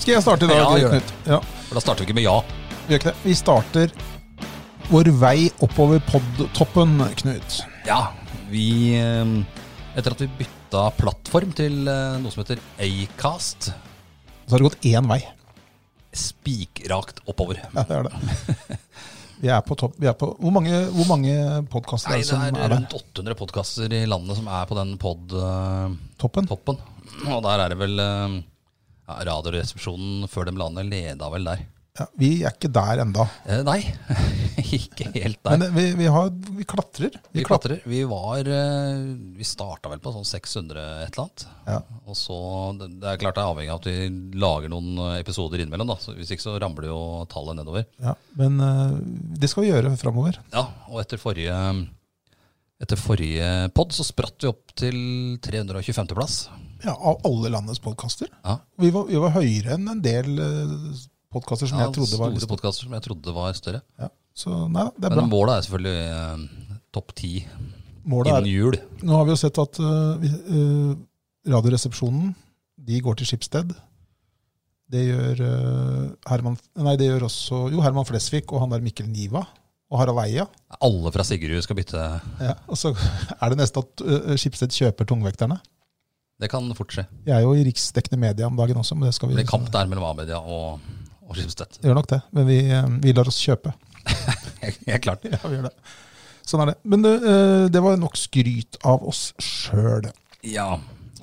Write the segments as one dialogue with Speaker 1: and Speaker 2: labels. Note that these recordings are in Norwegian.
Speaker 1: Skal jeg starte i dag,
Speaker 2: Ja, gjør det.
Speaker 1: Knut? Ja,
Speaker 2: For da starter vi ikke med ja.
Speaker 1: gjør ikke det. Vi starter vår vei oppover podtoppen, Knut.
Speaker 2: Ja, vi eh, Etter at vi bytta plattform til eh, noe som heter Acast,
Speaker 1: Så har det gått én vei.
Speaker 2: spikrakt oppover.
Speaker 1: Ja, det er det. Vi er på topp. Vi er på, hvor mange, hvor mange podkaster
Speaker 2: Nei,
Speaker 1: er det
Speaker 2: det
Speaker 1: som
Speaker 2: er
Speaker 1: er der?
Speaker 2: rundt 800 podkaster i landet som er på den pod-toppen.
Speaker 1: Toppen?
Speaker 2: Og der er det vel eh, ja, Radioresepsjonen før dem landet leda vel der.
Speaker 1: Ja, vi er ikke der enda.
Speaker 2: Eh, nei, ikke helt der.
Speaker 1: Men eh, vi, vi, har, vi klatrer.
Speaker 2: Vi klatrer. Vi var eh, Vi starta vel på sånn 600 et eller annet.
Speaker 1: Ja.
Speaker 2: Og så, Det det er klart det er avhengig av at vi lager noen eh, episoder innimellom. da, så Hvis ikke så ramler jo tallet nedover.
Speaker 1: Ja, men eh, det skal vi gjøre framover.
Speaker 2: Ja, Og etter forrige etter forrige pod så spratt vi opp til 325.-plass.
Speaker 1: Ja, av alle landets podkaster.
Speaker 2: Ja.
Speaker 1: Vi, var- vi var høyere enn en del uh, podkaster som
Speaker 2: Ja,
Speaker 1: jeg trodde var
Speaker 2: store podkaster som jeg trodde var større.
Speaker 1: ja. Så nei, det er
Speaker 2: Men
Speaker 1: bra.
Speaker 2: målet er selvfølgelig eh, topp ti
Speaker 1: Målet er
Speaker 2: innen jul.
Speaker 1: Nå har vi jo sett at øh, vi- øh, Radioresepsjonen de går til Skipsted. Det gjør, øh, Herman, nei, det gjør også jo, Herman Flesvig og han der Mikkel Niva og Harald Eia.
Speaker 2: Alle fra Sigrud skal bytte.
Speaker 1: Ja, og så er det neste at øh, Skipsted kjøper tungvekterne.
Speaker 2: Det kan fort skje.
Speaker 1: Jeg er jo i riksdekkende media om dagen også, men det skal
Speaker 2: Det
Speaker 1: vi
Speaker 2: blir kamp der mellom A-media og, og Skipstedt.
Speaker 1: gjør nok det. Men vi, øh, vi lar oss kjøpe.
Speaker 2: Helt klart.
Speaker 1: Ja, vi gjør det. Sånn er det. Men det, øh, det var nok skryt av oss sjøl.
Speaker 2: Ja.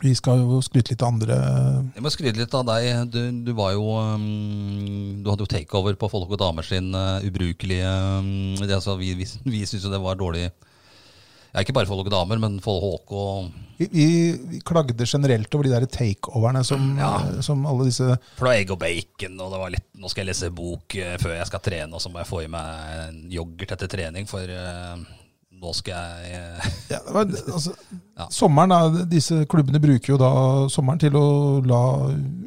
Speaker 1: Vi skal jo skryte litt av andre. eh,
Speaker 2: Jeg må skryte litt av deg. Du, du var jo um, Du hadde jo takeover på Folk og damer sin uh, ubrukelige um, det, altså, Vi, vi, vi syntes jo det var dårlig ja, Ikke bare Folk og damer, men Folk og
Speaker 1: Vi, vi, vi klagde generelt over de der takeoverne som, eh,
Speaker 2: Ja.
Speaker 1: som alle disse
Speaker 2: For det var egg og bacon, og det var litt Nå skal jeg lese bok eh, før jeg skal trene, og så må jeg få i meg en yoghurt etter trening, for eh, nå skal jeg eh,
Speaker 1: ja, det var, altså,
Speaker 2: Ja.
Speaker 1: Sommeren, da, disse klubbene bruker jo da sommeren til å la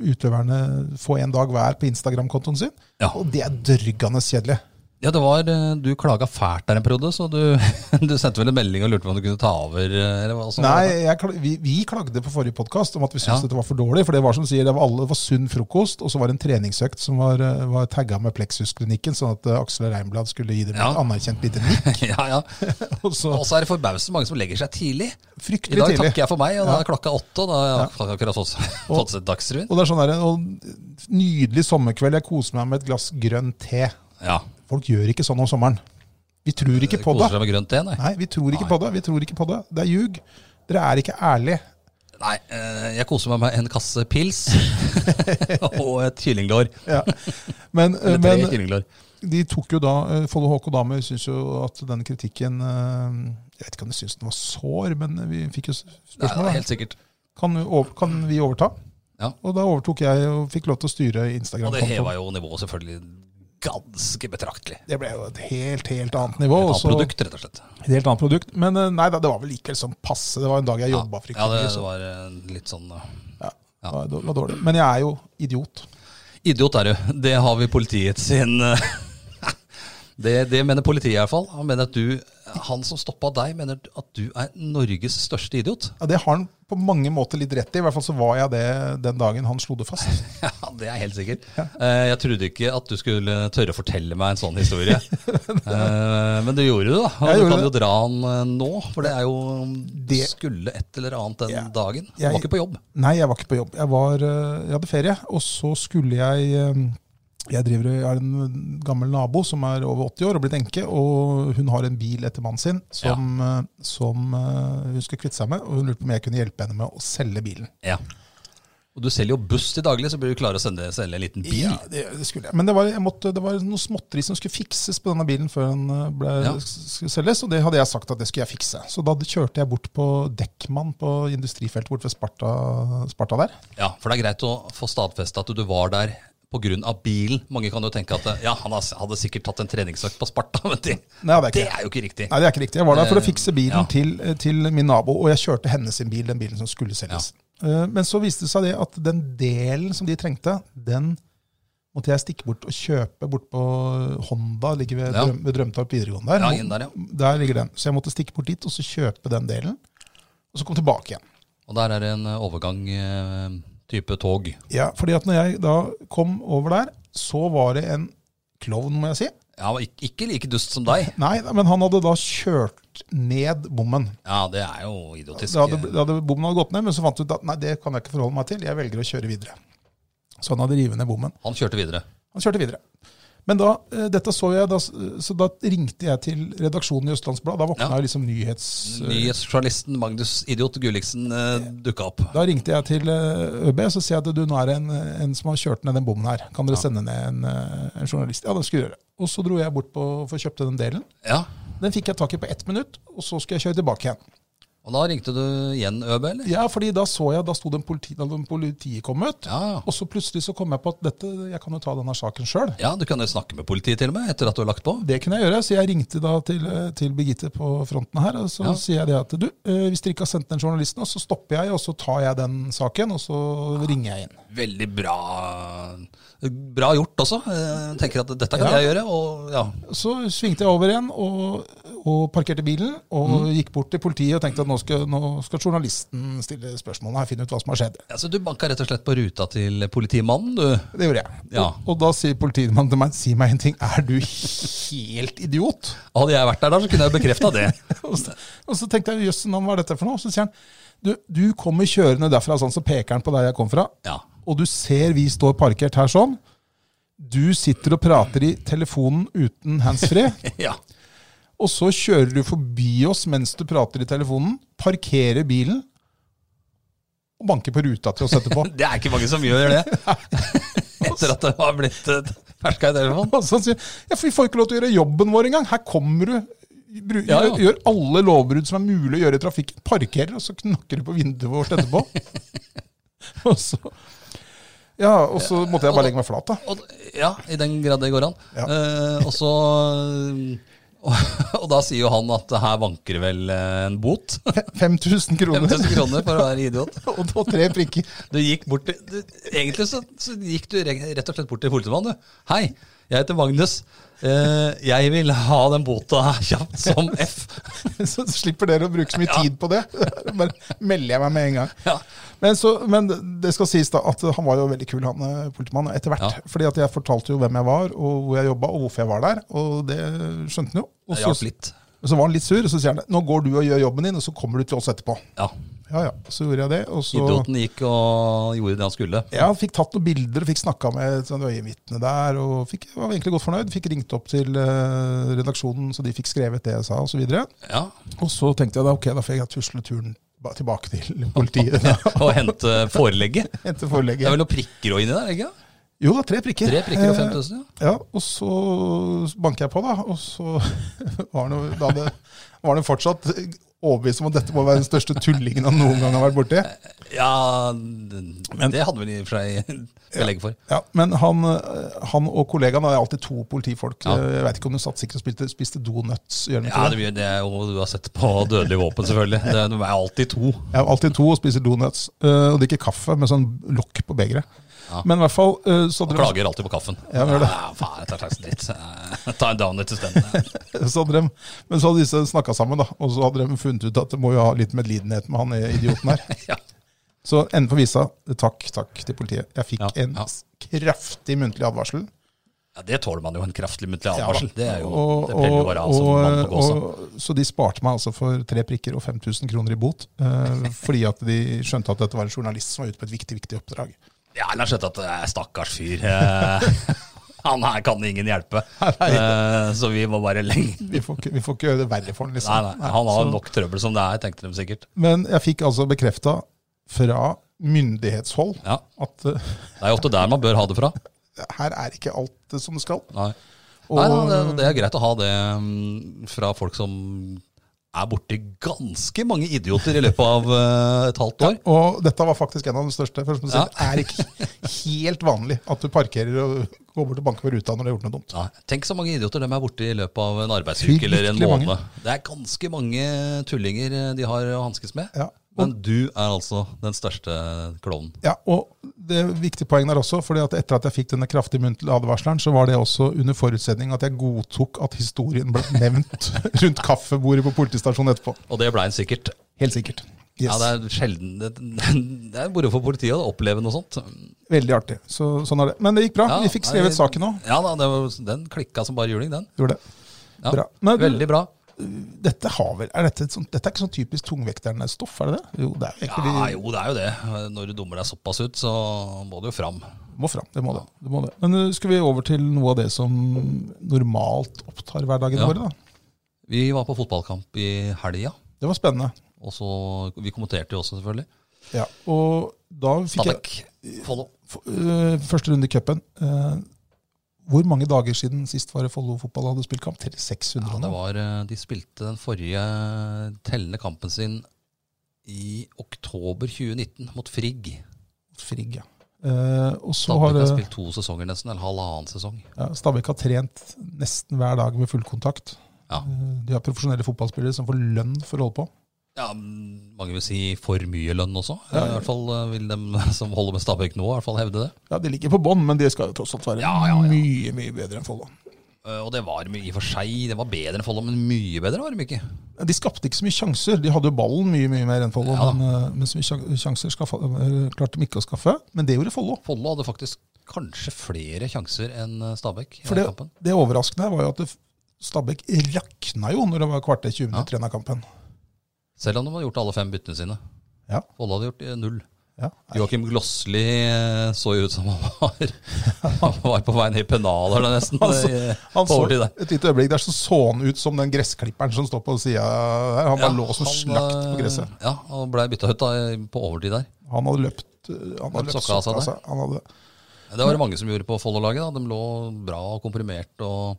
Speaker 1: utøverne få en dag hver på Instagram-kontoen sin.
Speaker 2: Ja.
Speaker 1: Og det er dørgende kjedelig.
Speaker 2: Ja, det var, eh, du klaga fælt der en periode, så du, du sendte vel en melding og lurte på om du kunne ta over? eh, Eller hva, som var det?
Speaker 1: Nei, jeg, kla- vi, vi klagde på forrige podkast om at vi syntes
Speaker 2: Ja.
Speaker 1: dette var for dårlig. For det var som du sier, det var, alle, det var sunn frokost, og så var det en treningsøkt som var, eh, var tagga med Plexusklinikken, sånn at eh, Aksel Reinblad skulle gi dem
Speaker 2: Ja.
Speaker 1: et anerkjent lite nikk.
Speaker 2: Ja, ja.
Speaker 1: Og så
Speaker 2: Og så er det forbausende mange som legger seg tidlig. I
Speaker 1: fryktelig
Speaker 2: dag
Speaker 1: tidlig.
Speaker 2: takker jeg for meg, og da er klokka åtte. Og da har jeg akkurat fått, fått sett Dagsrevyen.
Speaker 1: Og det er sånn der, og Nydelig sommerkveld, jeg koser meg med et glass grønn te.
Speaker 2: Ja.
Speaker 1: Folk gjør ikke sånn om sommeren. Vi tror ikke på det.
Speaker 2: Koser seg med grønt te, nei.
Speaker 1: Nei, vi tror ikke på det. Vi tror ikke på det. Det er ljug. Dere er ikke ærlige.
Speaker 2: Nei, eh, jeg koser meg med en kasse pils og et kyllinglår.
Speaker 1: Ja. Men,
Speaker 2: Eller tre
Speaker 1: men
Speaker 2: kyllinglår.
Speaker 1: de tok jo da eh, Follo HK Damer syns jo at den kritikken eh, Jeg vet ikke om de syns den var sår, men vi fikk jo s-
Speaker 2: Nei, det
Speaker 1: spørsmål.
Speaker 2: er
Speaker 1: da.
Speaker 2: helt sikkert.
Speaker 1: Kan, vi over, kan vi overta?
Speaker 2: Ja.
Speaker 1: Og da overtok jeg og fikk lov til å styre
Speaker 2: Og det
Speaker 1: Instagram-kontoen.
Speaker 2: heva jo nivået selvfølgelig ganske betraktelig.
Speaker 1: Det ble jo et helt, helt annet nivå.
Speaker 2: Et
Speaker 1: og
Speaker 2: annet
Speaker 1: så-
Speaker 2: produkt, rett og slett.
Speaker 1: Et helt annet produkt. Men eh, nei da, det var vel likevel sånn passe. Det var en dag jeg
Speaker 2: Ja,
Speaker 1: jobba fryktelig
Speaker 2: ja det,
Speaker 1: mye.
Speaker 2: det
Speaker 1: så-
Speaker 2: var eh, litt sånn eh,
Speaker 1: Ja,
Speaker 2: ja.
Speaker 1: det var- det var dårlig. Men jeg er jo idiot.
Speaker 2: Idiot er du. Det har vi politiet sin eh, det, det mener politiet i hvert fall. Han mener at du, han som stoppa deg, mener at du er Norges største idiot.
Speaker 1: Ja, det har han på mange måter litt rett i. I hvert fall så var jeg det den dagen han slo det fast.
Speaker 2: Ja, det er helt sikkert. Eh, Jeg trodde ikke at du skulle tørre å fortelle meg en sånn historie. Eh, Men du gjorde det, da. Og
Speaker 1: Jeg
Speaker 2: du
Speaker 1: gjorde
Speaker 2: kan
Speaker 1: det.
Speaker 2: jo dra den eh, nå, for det er jo Du
Speaker 1: Det-
Speaker 2: skulle et eller annet den
Speaker 1: Ja.
Speaker 2: dagen. Du
Speaker 1: Jeg-
Speaker 2: var ikke på jobb.
Speaker 1: Nei, jeg var ikke på jobb. Jeg, var, eh, jeg hadde ferie, og så skulle jeg eh, jeg driver, jeg har en gammel nabo som er over 80 år og blitt enke. Og hun har en bil etter mannen sin som, eh, som eh, hun skal kvitte seg med. Og hun lurte på om jeg kunne hjelpe henne med å selge bilen.
Speaker 2: Ja. Og du selger jo buss til daglig, så bør du klare å sende, selge en liten bil.
Speaker 1: Ja, det, det skulle jeg. Men det var, jeg måtte, det var noe småtteri som skulle fikses på denne bilen før den eh, ble,
Speaker 2: Ja.
Speaker 1: s- skulle selges, og det hadde jeg sagt at det skulle jeg fikse. Så da kjørte jeg bort på Dekkmann på industrifeltet bort ved Sparta, Sparta der.
Speaker 2: Ja, for det er greit å få stadfeste at du var der pga. bilen. Mange kan jo tenke at ja, han has- hadde sikkert tatt en treningsøkt på Sparta, men det,
Speaker 1: Nei, det er ikke
Speaker 2: det
Speaker 1: det.
Speaker 2: er jo ikke riktig.
Speaker 1: Nei, det er ikke riktig. Jeg var der for å
Speaker 2: Eh,
Speaker 1: fikse bilen
Speaker 2: ja.
Speaker 1: til, til min nabo, og jeg kjørte hennes sin bil, den bilen som skulle selges. Eh, Men så viste det seg det at den delen som de trengte, den måtte jeg stikke bort og kjøpe bort på Honda, ligger ved,
Speaker 2: Ja.
Speaker 1: drøm, ved Drømtorp videregående der.
Speaker 2: Ja, inn der, ja.
Speaker 1: Der ligger den. Så jeg måtte stikke bort dit og så kjøpe den delen, og så komme tilbake igjen.
Speaker 2: Og der er det en eh, overgang eh, type tog.
Speaker 1: Ja, fordi at når jeg da kom over der, så var det en klovn, må jeg si.
Speaker 2: Ja, og ikke, ikke like dust som deg.
Speaker 1: Nei, men han hadde da kjørt ned bommen.
Speaker 2: Ja, det er jo idiotisk.
Speaker 1: Da hadde, da hadde bommen hadde gått ned, men så fant du ut at nei, det kan jeg ikke forholde meg til, jeg velger å kjøre videre. Så han hadde revet ned bommen.
Speaker 2: Han kjørte videre.
Speaker 1: Han kjørte videre. Men da, eh, dette så jeg, da, s- så da ringte jeg til redaksjonen i Østlandsbladet. Da våkna
Speaker 2: Ja.
Speaker 1: jo liksom nyhets...
Speaker 2: Nyhetsjournalisten Magnus Idiot Gulliksen eh, dukka opp.
Speaker 1: Da ringte jeg til eh, ØB så sier jeg at du, nå er det en, en som har kjørt ned den bommen her. Kan dere sende ned en, eh, en journalist? Ja, det skulle jeg gjøre. Og så dro jeg bort på, for å kjøpte den delen.
Speaker 2: Ja,
Speaker 1: Den fikk jeg tak i på ett minutt, og så skulle jeg kjøre tilbake igjen.
Speaker 2: Og da ringte du igjen Øbe, eller?
Speaker 1: Ja, fordi da så jeg, da sto det en politi, da hadde politiet kommet.
Speaker 2: Ja, ja.
Speaker 1: Og så plutselig så kom jeg på at dette, jeg kan jo ta denne saken sjøl.
Speaker 2: ja du kan jo snakke med politiet til og med, etter at du har lagt på.
Speaker 1: Det kunne jeg gjøre, så jeg ringte da til, eh, til Birgitte på fronten her. Og så
Speaker 2: Ja.
Speaker 1: sier jeg det at du, eh, hvis dere ikke har sendt den journalisten, og så stopper jeg, og så tar jeg den saken, og så ringer jeg inn.
Speaker 2: Veldig bra Bra gjort også. Jeg tenker at dette kan
Speaker 1: Ja.
Speaker 2: jeg gjøre. Og ja,
Speaker 1: Så svingte jeg over igjen og, og parkerte bilen, og gikk bort til politiet og tenkte at nå skal, nå skal journalisten stille spørsmålene her, finne ut hva som har skjedd.
Speaker 2: altså, Du banka rett og slett på ruta til politimannen, du.
Speaker 1: Det gjorde jeg.
Speaker 2: Ja.
Speaker 1: Og, og da sier politimannen til meg, si meg en ting, er du helt idiot?
Speaker 2: Hadde jeg vært der da, så kunne jeg bekrefta det.
Speaker 1: Og så, og så tenkte jeg, jøss, hva er dette for noe? Så sier han, du, du kommer kjørende derfra, sånn, så peker han på der jeg kom fra,
Speaker 2: Ja.
Speaker 1: og du ser vi står parkert her sånn. Du sitter og prater i telefonen uten handsfree,
Speaker 2: ja.
Speaker 1: og så kjører du forbi oss mens du prater i telefonen, parkerer bilen, og banker på ruta til oss etterpå.
Speaker 2: Det er ikke mange som gjør det. Etter at det har blitt eh, ferska i telefonen.
Speaker 1: Og så sier han, ja, for vi får ikke lov til å gjøre jobben vår engang. Her kommer du, bru,
Speaker 2: Ja, ja.
Speaker 1: Gjør, gjør alle lovbrudd som er mulig å gjøre i trafikken, parkerer, og så knakker du på vinduet vårt etterpå. og så, ja, og så måtte jeg bare legge meg flat, da.
Speaker 2: Og, ja, i den grad det går an.
Speaker 1: Ja.
Speaker 2: Eh, og så og, og da sier jo han at her vanker det vel eh, en bot.
Speaker 1: 5000 kroner
Speaker 2: 5000 kroner for å være idiot.
Speaker 1: og, og tre prikker.
Speaker 2: Du gikk bort til, du, egentlig så, så gikk du re- rett og slett bort til politimannen. du. Hei, jeg heter Magnus. Eh, jeg vil ha den bota her kjapt som F.
Speaker 1: Så slipper dere å bruke så mye
Speaker 2: Ja.
Speaker 1: tid på det. Bare melder jeg meg med en gang.
Speaker 2: Ja.
Speaker 1: Men, så, men det skal sies da at han var jo veldig kul, han eh, politimannen, etter hvert.
Speaker 2: Ja.
Speaker 1: Fordi at jeg fortalte jo hvem jeg var, og hvor jeg jobba, og hvorfor jeg var der. Og det skjønte han jo. Og
Speaker 2: Det
Speaker 1: så,
Speaker 2: hjalp litt.
Speaker 1: og så var han litt sur, og så sier han nå går du og gjør jobben din, og så kommer du til oss etterpå.
Speaker 2: Ja.
Speaker 1: Ja ja, så gjorde jeg det. Og så
Speaker 2: Idioten gikk og gjorde det han skulle.
Speaker 1: ja, fikk tatt noen bilder og fikk snakka med et sånt øyenvitne der. Og fikk, var egentlig godt fornøyd. Fikk ringt opp til eh, redaksjonen, så de fikk skrevet det jeg sa, osv.
Speaker 2: Ja.
Speaker 1: Og så tenkte jeg da, ok, da får jeg tusle turen ba- tilbake til politiet. da.
Speaker 2: Og hente forelegget.
Speaker 1: Etter
Speaker 2: Det er
Speaker 1: forelegget.
Speaker 2: vel noen prikker også inni der? ikke?
Speaker 1: Jo da, tre prikker.
Speaker 2: Tre prikker og
Speaker 1: Eh,
Speaker 2: 5000, ja.
Speaker 1: Ja, og så banker jeg på, da. Og så var han jo- da det, var han jo fortsatt overbevist om at dette må være den største tullingen han noen gang har vært borti.
Speaker 2: Eh, Ja, det det hadde vel i og for seg belegg for.
Speaker 1: Ja, men han, eh, han og kollegaen det er alltid to politifolk.
Speaker 2: Ja.
Speaker 1: Jeg vet ikke om de satt sikkert og spiste, spiste donuts. Gjør de ikke
Speaker 2: Ja,
Speaker 1: det?
Speaker 2: det, det er jo du har sett på Dødelig våpen, selvfølgelig. Det, de er alltid to.
Speaker 1: Jeg har alltid to og spiser donuts. eh, Og drikker kaffe med sånn lokk på begeret.
Speaker 2: Ja.
Speaker 1: Men i hvert fall eh, så
Speaker 2: Og
Speaker 1: hadde de-
Speaker 2: klager alltid på kaffen.
Speaker 1: Ja, gjør det.
Speaker 2: Ja, faen, dette er slags dritt. Eh, Ta en down etter stedet.
Speaker 1: Så hadde de, men så hadde disse snakka sammen, da, og så hadde de funnet ut at det må jo ha litt medlidenhet med han idioten her.
Speaker 2: Ja.
Speaker 1: Så enden på visa, takk, takk til politiet. Jeg fikk
Speaker 2: Ja,
Speaker 1: en
Speaker 2: ja.
Speaker 1: s- kraftig muntlig advarsel.
Speaker 2: ja, det tåler man jo. En kraftig muntlig
Speaker 1: Ja,
Speaker 2: advarsel.
Speaker 1: da.
Speaker 2: Det er jo
Speaker 1: Og-
Speaker 2: det preller jo bare av som
Speaker 1: og-
Speaker 2: mann på gåsa.
Speaker 1: og- Så de sparte meg altså for tre prikker og 5000 kroner i bot, eh, fordi at de skjønte at dette var en journalist som var ute på et viktig, viktig oppdrag.
Speaker 2: Ja, eller skjønt at det er stakkars fyr. eh, Han her kan ingen hjelpe. Eh, Så vi må bare lenge
Speaker 1: Vi får ikke, vi får ikke gjøre det verre for han, liksom.
Speaker 2: Nei, nei, han har
Speaker 1: så-
Speaker 2: nok trøbbel som det er, tenkte de sikkert.
Speaker 1: Men jeg fikk altså bekrefta fra myndighetshold.
Speaker 2: Ja,
Speaker 1: At eh,
Speaker 2: Det er jo ofte der man bør ha det fra.
Speaker 1: her er ikke alt eh, som det skal.
Speaker 2: Nei.
Speaker 1: Og,
Speaker 2: Nei, nei, det, det er greit å ha det mm, fra folk som er borti ganske mange idioter i løpet av eh, et halvt år.
Speaker 1: og dette var faktisk en av de største. For som du sier,
Speaker 2: Ja.
Speaker 1: Det er ikke helt vanlig at du parkerer og går bort og banker på ruta når du har gjort noe dumt.
Speaker 2: Nei, tenk så mange idioter de er borti i løpet av en arbeidsuke eller en
Speaker 1: Fryktelig
Speaker 2: måned.
Speaker 1: mange.
Speaker 2: Det er ganske mange tullinger eh, de har å hanskes med.
Speaker 1: Ja.
Speaker 2: Men du er altså den største klovnen.
Speaker 1: Ja, og det er et viktig poeng der også, fordi at etter at jeg fikk denne kraftige muntlige advarsleren, så var det også under forutsetning at jeg godtok at historien ble nevnt rundt kaffebordet på politistasjonen etterpå.
Speaker 2: Og det blei en sikkert.
Speaker 1: Helt sikkert. Yes.
Speaker 2: Ja, det er sjelden Det, det er moro for politiet å oppleve noe sånt.
Speaker 1: Veldig artig. Så, sånn er det. Men det gikk bra.
Speaker 2: Ja,
Speaker 1: Vi fikk skrevet
Speaker 2: nei,
Speaker 1: saken òg.
Speaker 2: Ja da, det var, den klikka som bare juling, den.
Speaker 1: Gjorde det.
Speaker 2: Ja,
Speaker 1: Bra. Men du-
Speaker 2: Veldig bra.
Speaker 1: Dette, har vel, er dette, et sånt, dette er ikke sånn typisk tungvekterne stoff, er det det? Jo, det er jo egentlig
Speaker 2: Ja, jo, det er jo det. Når du dummer deg såpass ut, så må du jo fram.
Speaker 1: Det må fram. Det må det. det, må det. Men uh, skal vi over til noe av det som normalt opptar hverdagen
Speaker 2: Ja.
Speaker 1: vår, da?
Speaker 2: Vi var på fotballkamp i helga,
Speaker 1: Det var spennende.
Speaker 2: og så Vi kommenterte jo også, selvfølgelig.
Speaker 1: Ja. Og da fikk jeg
Speaker 2: Stabæk. Follo.
Speaker 1: F- øh, Første runde i cupen. øh, Hvor mange dager siden sist var det Follo fotball hadde spilt kamp? Til 600
Speaker 2: Ja,
Speaker 1: nå.
Speaker 2: det var, eh, de spilte den forrige eh, tellende kampen sin i oktober 2019 mot Frigg.
Speaker 1: Frigg, ja. Eh, og så har
Speaker 2: Stabæk har
Speaker 1: det-
Speaker 2: spilt to sesonger nesten, eller halvannen sesong.
Speaker 1: ja, Stabæk har trent nesten hver dag med fullkontakt.
Speaker 2: Ja.
Speaker 1: De har profesjonelle fotballspillere som får lønn for å holde på.
Speaker 2: Ja, m, Mange vil si for mye lønn også.
Speaker 1: Ja, ja.
Speaker 2: I hvert fall eh, vil dem som holder med Stabæk nå, i hvert fall hevde det.
Speaker 1: Ja, De ligger på bånn, men de skal jo tross alt være
Speaker 2: Ja, ja, ja.
Speaker 1: mye mye bedre enn Follo.
Speaker 2: Eh, Og det var mye i og for seg. Det var bedre enn Follo, men mye bedre var de ikke.
Speaker 1: De skapte ikke så mye sjanser. De hadde jo ballen mye mye mer enn Follo,
Speaker 2: Ja da.
Speaker 1: men, øh, men så mye sjan- sjanser skaffa, øh, klarte de ikke å skaffe. Men det gjorde Follo.
Speaker 2: Follo hadde faktisk kanskje flere sjanser enn eh, Stabæk. i
Speaker 1: For
Speaker 2: den
Speaker 1: det,
Speaker 2: kampen.
Speaker 1: det overraskende var jo at det, Stabæk rakna jo når det var kvarter 20 minutter igjen av kampen.
Speaker 2: Selv om de hadde gjort alle fem byttene sine.
Speaker 1: Ja.
Speaker 2: Follo hadde gjort eh, null.
Speaker 1: Ja. Nei,
Speaker 2: Joakim Glossli eh, så jo ut som han var, han var på vei ned i pennaler da nesten.
Speaker 1: Han så-
Speaker 2: eh,
Speaker 1: han så
Speaker 2: på overtid der.
Speaker 1: et lite øyeblikk der så så han ut som den gressklipperen som står på sida der. Han
Speaker 2: Ja,
Speaker 1: bare lå som
Speaker 2: han,
Speaker 1: slakt på gresset.
Speaker 2: eh, Ja, og blei bytta ut da, eh, på overtid der.
Speaker 1: Han hadde løpt, øh, han hadde løpt sokka av seg. Han hadde,
Speaker 2: Det var det mange som gjorde på Follo-laget. da. De lå bra og komprimert. Og,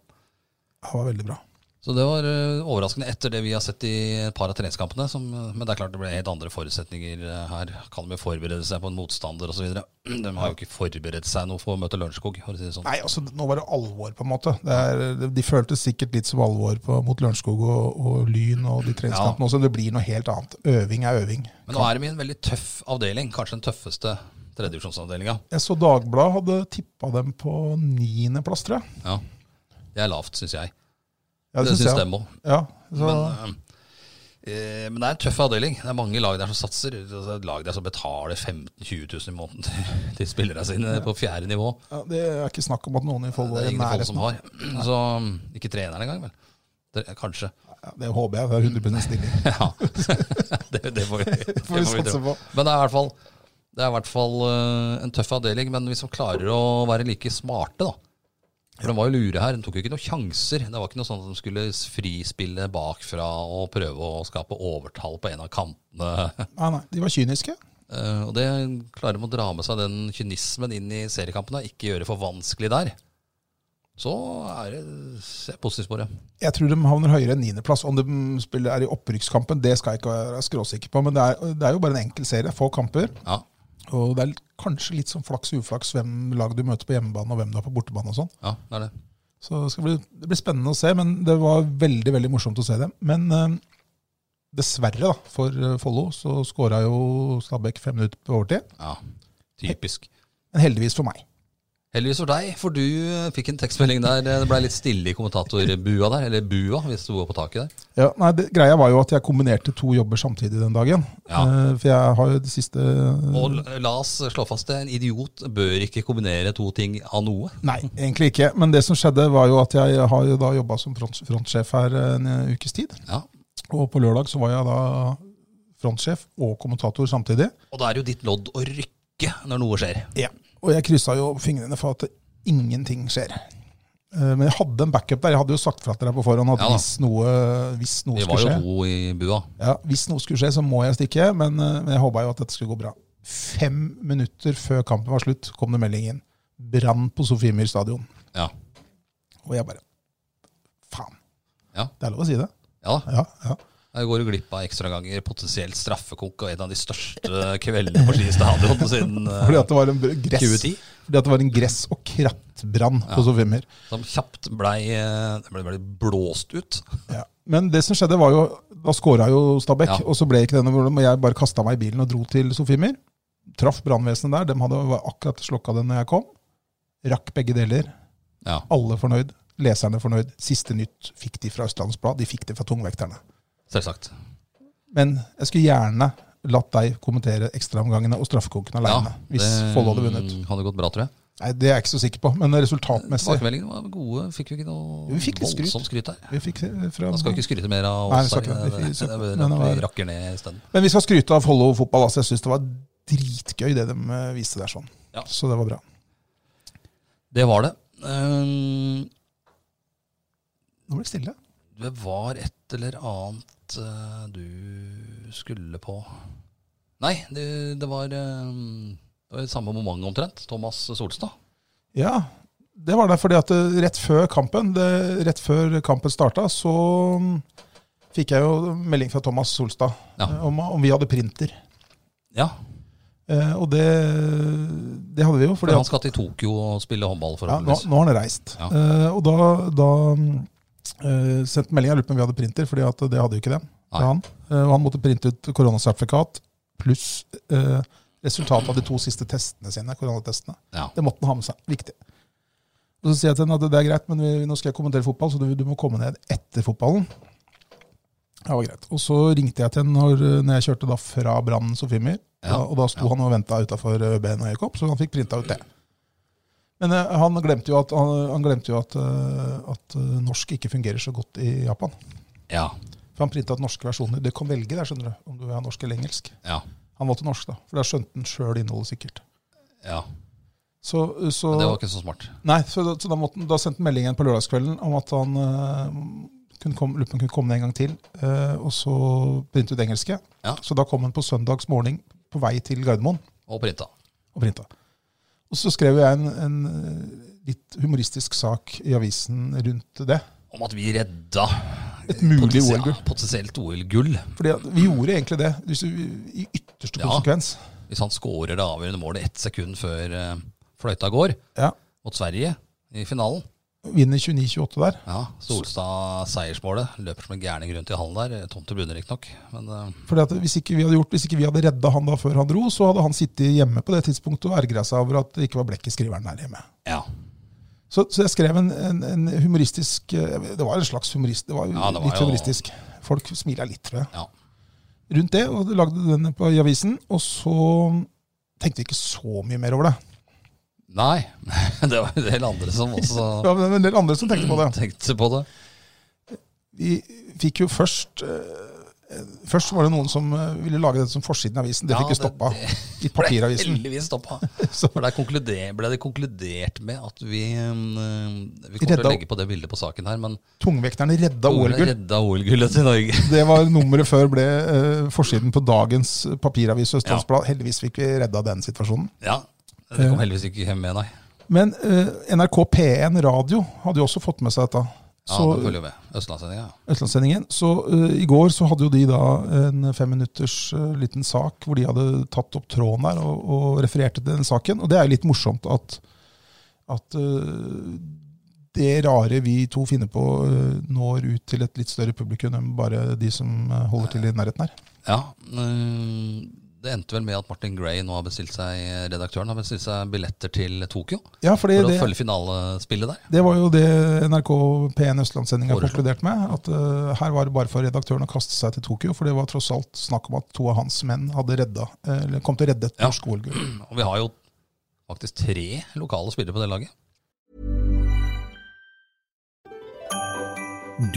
Speaker 1: han var veldig bra.
Speaker 2: så det var eh, overraskende etter det vi har sett i et par av treningskampene. Som, eh, men det er klart det ble helt andre forutsetninger eh, her. Kan de jo forberede seg på en motstander osv.? De har jo ikke forberedt seg noe for å møte Lørenskog. for å si det sånn.
Speaker 1: Nei, altså nå var det alvor, på en måte. Det er, de føltes sikkert litt som alvor på, mot Lørenskog og, og Lyn og de treningskampene også. Det blir noe helt annet. Øving er øving.
Speaker 2: Men nå er de i en veldig tøff avdeling. Kanskje den tøffeste tredjevisjonsavdelinga.
Speaker 1: Jeg så Dagbladet hadde tippa dem på niendeplass, tror jeg.
Speaker 2: Ja. Det er lavt, syns jeg.
Speaker 1: Ja,
Speaker 2: det
Speaker 1: synes
Speaker 2: syns
Speaker 1: jeg.
Speaker 2: dem òg.
Speaker 1: Ja, så,
Speaker 2: Men, eh, men det er en tøff avdeling. Det er mange lag der som satser. Det er et lag der som betaler 15 000-20 000 i måneden til- til spillerne sine på fjerde nivå.
Speaker 1: ja, det er ikke snakk om at noen i Follo
Speaker 2: Det
Speaker 1: er
Speaker 2: er
Speaker 1: i
Speaker 2: ingen folk som
Speaker 1: nærheten.
Speaker 2: har. Så mm, ikke treneren engang, vel. Det, kanskje.
Speaker 1: Ja, det håper jeg. Det er 100 stilling.
Speaker 2: Ja. Det, det får vi, det
Speaker 1: Får
Speaker 2: får
Speaker 1: vi
Speaker 2: vi
Speaker 1: satse
Speaker 2: tro.
Speaker 1: på.
Speaker 2: Men det er i hvert fall, det er i hvert fall eh, en tøff avdeling. Men hvis de klarer å være like smarte, da. For De var jo lure her, de tok jo ikke noen sjanser. Det var ikke noe sånn at de skulle frispille bakfra og prøve å skape overtall på en av kantene.
Speaker 1: Nei, nei, de var kyniske.
Speaker 2: Eh, og det klarer de å dra med seg den kynismen inn i seriekampene. Ikke gjøre det for vanskelig der. Så er det jeg er positivt på det.
Speaker 1: Jeg tror de havner høyere enn niendeplass. Om de spiller er i opprykkskampen, det skal jeg ikke være skråsikker på. Men det er, det er jo bare en enkel serie, få kamper.
Speaker 2: Ja,
Speaker 1: Og det er kanskje litt sånn flaks og uflaks hvem lag du møter på hjemmebane, og hvem du har på bortebane og sånn.
Speaker 2: ja, det er det.
Speaker 1: Så det, skal bli, det blir spennende å se, men det var veldig veldig morsomt å se dem. Men eh, dessverre da, for eh, Follo så skåra jo Stabæk fem minutter på overtid.
Speaker 2: Ja, Typisk.
Speaker 1: Men heldigvis for meg.
Speaker 2: Heldigvis for deg, for du eh, fikk en tekstmelding der. eh, Det blei litt stille i kommentatorbua der, eller bua, hvis du var på taket der.
Speaker 1: Ja, nei, det, greia var jo at jeg kombinerte to jobber samtidig den dagen.
Speaker 2: Ja.
Speaker 1: Eh, for jeg har jo det siste Mm.
Speaker 2: Og l- la oss slå fast det, en idiot bør ikke kombinere to ting av noe.
Speaker 1: Nei, egentlig ikke. Men det som skjedde, var jo at jeg har jo da jobba som front, frontsjef her en eh, ukes tid.
Speaker 2: Ja.
Speaker 1: Og på lørdag så var jeg da frontsjef og kommentator samtidig.
Speaker 2: Og da er det jo ditt lodd å rykke når noe skjer.
Speaker 1: Ja. Og jeg kryssa jo fingrene for at ingenting skjer. Eh, Men jeg hadde en backup der. Jeg hadde jo sagt fra til deg på forhånd at
Speaker 2: Ja da.
Speaker 1: hvis noe, hvis noe
Speaker 2: Vi var jo
Speaker 1: skulle skje,
Speaker 2: to i bua.
Speaker 1: ja, hvis noe skulle skje, så må jeg stikke. Men, eh, men jeg håpa jo at dette skulle gå bra. Fem minutter før kampen var slutt, kom det melding inn. Brann på Sofiemyr stadion.
Speaker 2: Ja.
Speaker 1: Og jeg bare Faen.
Speaker 2: Ja.
Speaker 1: Det er lov å si det.
Speaker 2: Ja da.
Speaker 1: Ja, ja.
Speaker 2: Jeg går jo glipp av ekstraganger, potensielt straffekonk og en av de største kveldene på Ski stadion siden eh,
Speaker 1: Fordi at det var en br- gress,
Speaker 2: 2010.
Speaker 1: fordi at det var en gress- og krattbrann på Sofiemyr.
Speaker 2: Som kjapt blei eh, det ble, ble blåst ut.
Speaker 1: Ja. Men det som skjedde, var jo Da skåra jo Stabæk,
Speaker 2: Ja.
Speaker 1: og så ble ikke det noe problem. Og jeg bare kasta meg i bilen og dro til Sofiemyr. Traff brannvesenet der. De hadde var akkurat slokka det når jeg kom. Rakk begge deler.
Speaker 2: Ja.
Speaker 1: Alle fornøyd. Leserne fornøyd. Siste nytt fikk de fra Østlandets Blad. De fikk det fra tungvekterne.
Speaker 2: Selvsagt.
Speaker 1: Men jeg skulle gjerne latt deg kommentere ekstraomgangene og straffekonken aleine. hvis Follo hadde vunnet.
Speaker 2: Hadde gått bra, tror jeg.
Speaker 1: Nei, Det er jeg ikke så sikker på, men resultatmessig
Speaker 2: Tilbakemeldingene var gode. Fikk vi ikke noe
Speaker 1: Jo, vi fikk litt skryt.
Speaker 2: voldsomt skryt her?
Speaker 1: vi fikk det fra
Speaker 2: Man skal ikke skryte mer av
Speaker 1: Nei, vi
Speaker 2: oss
Speaker 1: skal
Speaker 2: her.
Speaker 1: ikke det. Vi
Speaker 2: Det-
Speaker 1: skal-
Speaker 2: det-
Speaker 1: men det var-
Speaker 2: Vi rakker ned isteden.
Speaker 1: Men vi skal skryte av Follo fotball. Altså, jeg syns det var dritgøy det de eh, viste der sånn.
Speaker 2: Ja.
Speaker 1: Så det var bra.
Speaker 2: Det var det. Ehm,
Speaker 1: Nå ble det stille.
Speaker 2: Det var et eller annet eh, du skulle på Nei, det, det var ehm, det var samme moment omtrent. Thomas Solstad.
Speaker 1: Ja, det var det fordi at eh, rett før kampen, det, rett før kampen starta, så mm, fikk jeg jo melding fra Thomas Solstad
Speaker 2: Ja.
Speaker 1: eh, om, om vi hadde printer.
Speaker 2: Ja,
Speaker 1: Eh, og det, det hadde vi jo.
Speaker 2: for
Speaker 1: Fordi
Speaker 2: han
Speaker 1: at,
Speaker 2: skal til Tokyo og spille håndball,
Speaker 1: ja, nå,
Speaker 2: forhåpentligvis.
Speaker 1: nå har han reist.
Speaker 2: Ja.
Speaker 1: Eh, og da, da mm, eh, sendte meldinga Jeg lurte på om vi hadde printer, fordi at det hadde jo ikke dem.
Speaker 2: Nei.
Speaker 1: fra Han. Eh, og han måtte printe ut koronasertifikat pluss eh, resultatet av de to siste testene sine. koronatestene.
Speaker 2: Ja.
Speaker 1: Det måtte han ha med seg. Viktig. Og så sier jeg til henne at det er greit, men vi, nå skal jeg kommentere fotball, så du, du må komme ned etter fotballen. Ja, det var greit. Og så ringte jeg til henne når, når jeg kjørte da fra Brann Sofiemyr.
Speaker 2: Ja,
Speaker 1: Da- Og da sto han og venta utafor ØB når jeg kom, så han fikk printa ut det. Men eh, han glemte jo at, han, han glemte jo at, eh, at eh, norsk ikke fungerer så godt i Japan.
Speaker 2: ja.
Speaker 1: For han printa ut norske versjoner. Du kan velge der, skjønner du, om du vil ha norsk eller engelsk.
Speaker 2: Ja.
Speaker 1: Han valgte norsk, da. For da skjønte han sjøl innholdet, sikkert.
Speaker 2: ja.
Speaker 1: Så, så,
Speaker 2: Men det var ikke så smart.
Speaker 1: Nei, så da, så da, måtte, han- da sendte han meldingen på lørdagskvelden om at han eh, kunne komme, lurer på om han kunne komme ned en gang til, eh, og så printe ut engelske.
Speaker 2: Ja.
Speaker 1: Så da kom han på søndags morgen på vei til Gardermoen
Speaker 2: Og printa.
Speaker 1: og printa. Og så skrev jeg en, en eh, litt humoristisk sak i avisen rundt det.
Speaker 2: Om at vi redda
Speaker 1: Et mulig
Speaker 2: potensia-
Speaker 1: OL-gull.
Speaker 2: Potensielt OL-gull.
Speaker 1: Fordi at vi gjorde egentlig det, hvis du, i ytterste
Speaker 2: Ja.
Speaker 1: konsekvens.
Speaker 2: Hvis han skårer det avgjørende målet ett sekund før eh, fløyta går,
Speaker 1: Ja.
Speaker 2: mot Sverige i finalen.
Speaker 1: Vinner 29-28 der.
Speaker 2: Ja, Solstad seiersmålet. Løper som en gærning rundt i hallen der. Tomt til Brune, riktignok. Men eh,
Speaker 1: Fordi at hvis ikke vi hadde gjort, hvis ikke vi hadde redda han da før han dro, så hadde han sittet hjemme på det tidspunktet og ergra seg over at det ikke var blekk i skriveren der hjemme.
Speaker 2: ja.
Speaker 1: Så, så jeg skrev en, en, en humoristisk eh, Det var en slags humorist, det var, jo
Speaker 2: Ja, det var
Speaker 1: litt
Speaker 2: jo-
Speaker 1: humoristisk. Folk smila litt, tror jeg.
Speaker 2: ja.
Speaker 1: Rundt det, og lagde den på, i avisen. Og så tenkte vi ikke så mye mer over det.
Speaker 2: Nei. det var en del andre som også
Speaker 1: Det var en del andre som tenkte på det.
Speaker 2: tenkte på det.
Speaker 1: Vi fikk jo først eh, Først var det noen som eh, ville lage det som forsiden av avisen. Det
Speaker 2: Ja,
Speaker 1: fikk vi
Speaker 2: det-
Speaker 1: stoppa. I
Speaker 2: Ble
Speaker 1: papiravisen.
Speaker 2: heldigvis stoppa.
Speaker 1: Så-
Speaker 2: For der konkluder- ble det konkludert med at vi eh, Vi kommer
Speaker 1: Redda-
Speaker 2: til å legge på det bildet på saken her, men
Speaker 1: Tungvekterne redda OL-gull.
Speaker 2: redda OL-gullet til Norge.
Speaker 1: Det var nummeret før ble eh, forsiden på dagens papiravis Østlandsblad. Heldigvis fikk vi redda den situasjonen.
Speaker 2: Ja.
Speaker 1: Eh.
Speaker 2: Det kom heldigvis ikke hjem med, nei.
Speaker 1: Men eh, NRK P1 Radio hadde jo også fått med seg dette.
Speaker 2: Ja,
Speaker 1: Så,
Speaker 2: det følger jo med. Østlandssendinga.
Speaker 1: Østlandssendingen. Så eh, i går så hadde jo de da en femminutters eh, liten sak hvor de hadde tatt opp tråden der og, og refererte til den saken. Og det er jo litt morsomt at, at eh, det rare vi to finner på, eh, når ut til et litt større publikum enn bare de som eh, holder til i nærheten her.
Speaker 2: Ja, eh, det endte vel med at Martin Gray nå har bestilt seg redaktøren har bestilt seg billetter til Tokyo for
Speaker 1: Ja, fordi
Speaker 2: å
Speaker 1: det,
Speaker 2: følge finalespillet der.
Speaker 1: Det var jo det NRK P1 Østlandssendinga
Speaker 2: Foreslo.
Speaker 1: konkluderte med. At eh, her var det bare for redaktøren å kaste seg til Tokyo. For det var tross alt snakk om at to av hans menn hadde redda, eller kom til å redde et
Speaker 2: Ja.
Speaker 1: norsk OL-gull.
Speaker 2: Og vi har jo faktisk tre lokale spillere på det laget.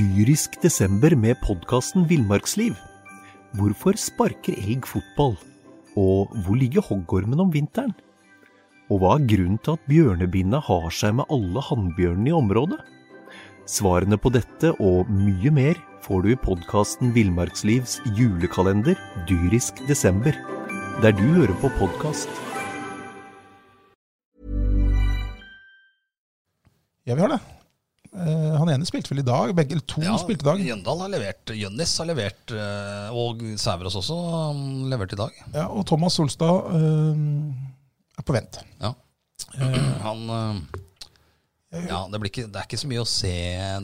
Speaker 3: Dyrisk desember med podkasten Villmarksliv. Hvorfor sparker elg fotball? Og hvor ligger hoggormen om vinteren? Og hva er grunnen til at bjørnebinna har seg med alle hannbjørnene i området? Svarene på dette og mye mer får du i podkasten Villmarkslivs julekalender dyrisk desember. der du hører på podkast.
Speaker 1: Ja, vi har det. Eh, han ene spilte vel i dag, begge eller to spilte i dag.
Speaker 2: Jøndal har levert, Jønnis har levert, eh, og Sæverås også um, leverte i dag.
Speaker 1: Ja, og Thomas Solstad eh, er på vent.
Speaker 2: Ja. Han eh, Ja, det, blir ikke, det er ikke så mye å se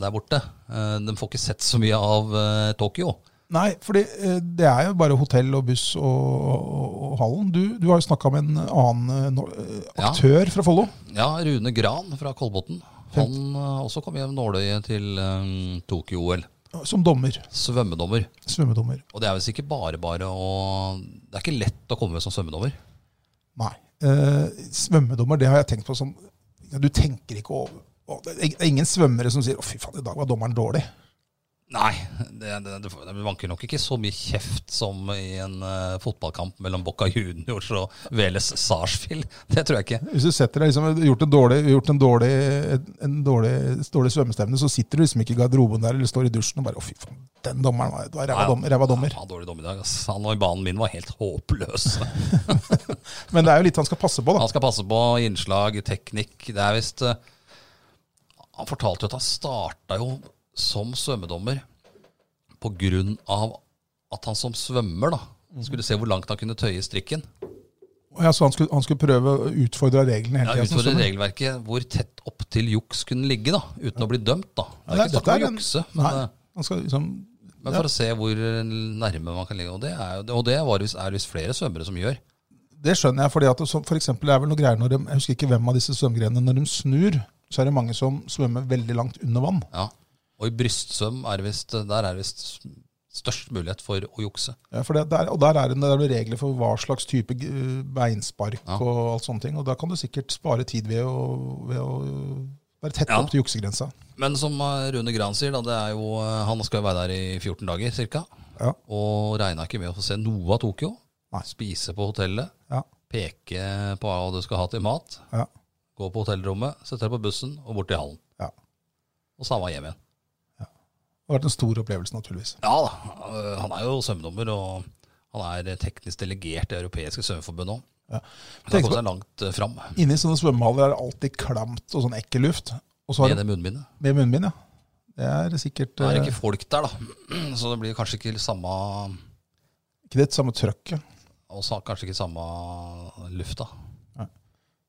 Speaker 2: der borte. Eh, De får ikke sett så mye av eh, Tokyo.
Speaker 1: Nei, for det er jo bare hotell og buss og, og, og hallen. Du, du har jo snakka med en annen eh, no- eh,
Speaker 2: Ja.
Speaker 1: aktør fra Follo.
Speaker 2: Ja, Rune Gran fra Kolbotn. Han eh, også kom hjem nåløyet til eh, Tokyo-OL.
Speaker 1: Som dommer.
Speaker 2: Svømmedommer.
Speaker 1: Svømmedommer.
Speaker 2: Og det er visst ikke bare bare å Det er ikke lett å komme med som svømmedommer.
Speaker 1: Nei. Eh, svømmedommer, det har jeg tenkt på som ja, Du tenker ikke over å, Det er ingen svømmere som sier 'Å, fy faen, i dag var dommeren dårlig'.
Speaker 2: Nei, det, det, det, det vanker nok ikke så mye kjeft som i en eh, fotballkamp mellom Boca Juniors og Veles Sarsfield. Det tror jeg ikke.
Speaker 1: Hvis du setter deg liksom, gjort, en dårlig, gjort en dårlig, en dårlig, dårlig svømmestevne, så sitter du liksom ikke i garderoben der eller står i dusjen og bare 'Å, fy faen, den dommeren var, det var ræva dom- ræva dommer'.
Speaker 2: Ja, dårlig dom i dag. ass. Han og banen min var helt håpløs.
Speaker 1: Men det er jo litt han skal passe på, da.
Speaker 2: Han skal passe på innslag, teknikk. Det er visst eh, Han fortalte jo at han starta jo som svømmedommer på grunn av at han som svømmer da, skulle se hvor langt han kunne tøye strikken.
Speaker 1: Og Ja, så han skulle, han skulle prøve å utfordre reglene
Speaker 2: Ja,
Speaker 1: hele tiden,
Speaker 2: Utfordre
Speaker 1: sånn.
Speaker 2: regelverket hvor tett opptil juks kunne ligge, da, uten å bli dømt. da. Det
Speaker 1: Ja,
Speaker 2: er ikke snakk
Speaker 1: dette
Speaker 2: om å
Speaker 1: en-
Speaker 2: jukse,
Speaker 1: Nei,
Speaker 2: men, eh,
Speaker 1: han skal liksom
Speaker 2: men
Speaker 1: ja,
Speaker 2: for å se hvor nærme man kan ligge. Og det er, jo- og det var, det visst- er det visst flere svømmere som gjør.
Speaker 1: Det skjønner jeg, fordi at det, så- for eksempel, det er vel noe greier når de, Jeg husker ikke hvem av disse svømmegrenene. Når de snur, så er det mange som svømmer veldig langt under vann.
Speaker 2: Ja. Og i brystsvøm er det visst, der er det visst størst mulighet for å jukse.
Speaker 1: Ja, for det, der, og der er det, der er det regler for hva slags type eh, beinspark
Speaker 2: Ja.
Speaker 1: og alt sånne ting. Og da kan du sikkert spare tid ved å, ved å være tett
Speaker 2: Ja.
Speaker 1: opp til juksegrensa.
Speaker 2: Men som eh, Rune Gran sier, da, det er jo, eh, han skal jo være der i 14 dager ca.
Speaker 1: Ja.
Speaker 2: Og regna ikke med å få se noe av Tokyo.
Speaker 1: Nei.
Speaker 2: Spise på hotellet,
Speaker 1: Ja.
Speaker 2: peke på hva du skal ha til mat,
Speaker 1: Ja.
Speaker 2: gå på hotellrommet, sette deg på bussen og bort til hallen.
Speaker 1: Ja.
Speaker 2: Og samme hjem igjen.
Speaker 1: Det har vært en stor opplevelse, naturligvis.
Speaker 2: Ja da, eh, han er jo svømmedommer, og han er teknisk delegert i Europeiske svømmeforbund òg.
Speaker 1: Ja.
Speaker 2: Han har kommet seg langt eh, fram
Speaker 1: Inni sånne svømmehaller er det alltid klamt og sånn ekkel luft. Og så har
Speaker 2: med
Speaker 1: du
Speaker 2: det munnbindet.
Speaker 1: med munnbind, ja. Det er sikkert
Speaker 2: Det er
Speaker 1: eh,
Speaker 2: ikke folk der, da, så det blir kanskje ikke samme
Speaker 1: ikke det samme trøkket.
Speaker 2: Og sa- kanskje ikke samme lufta.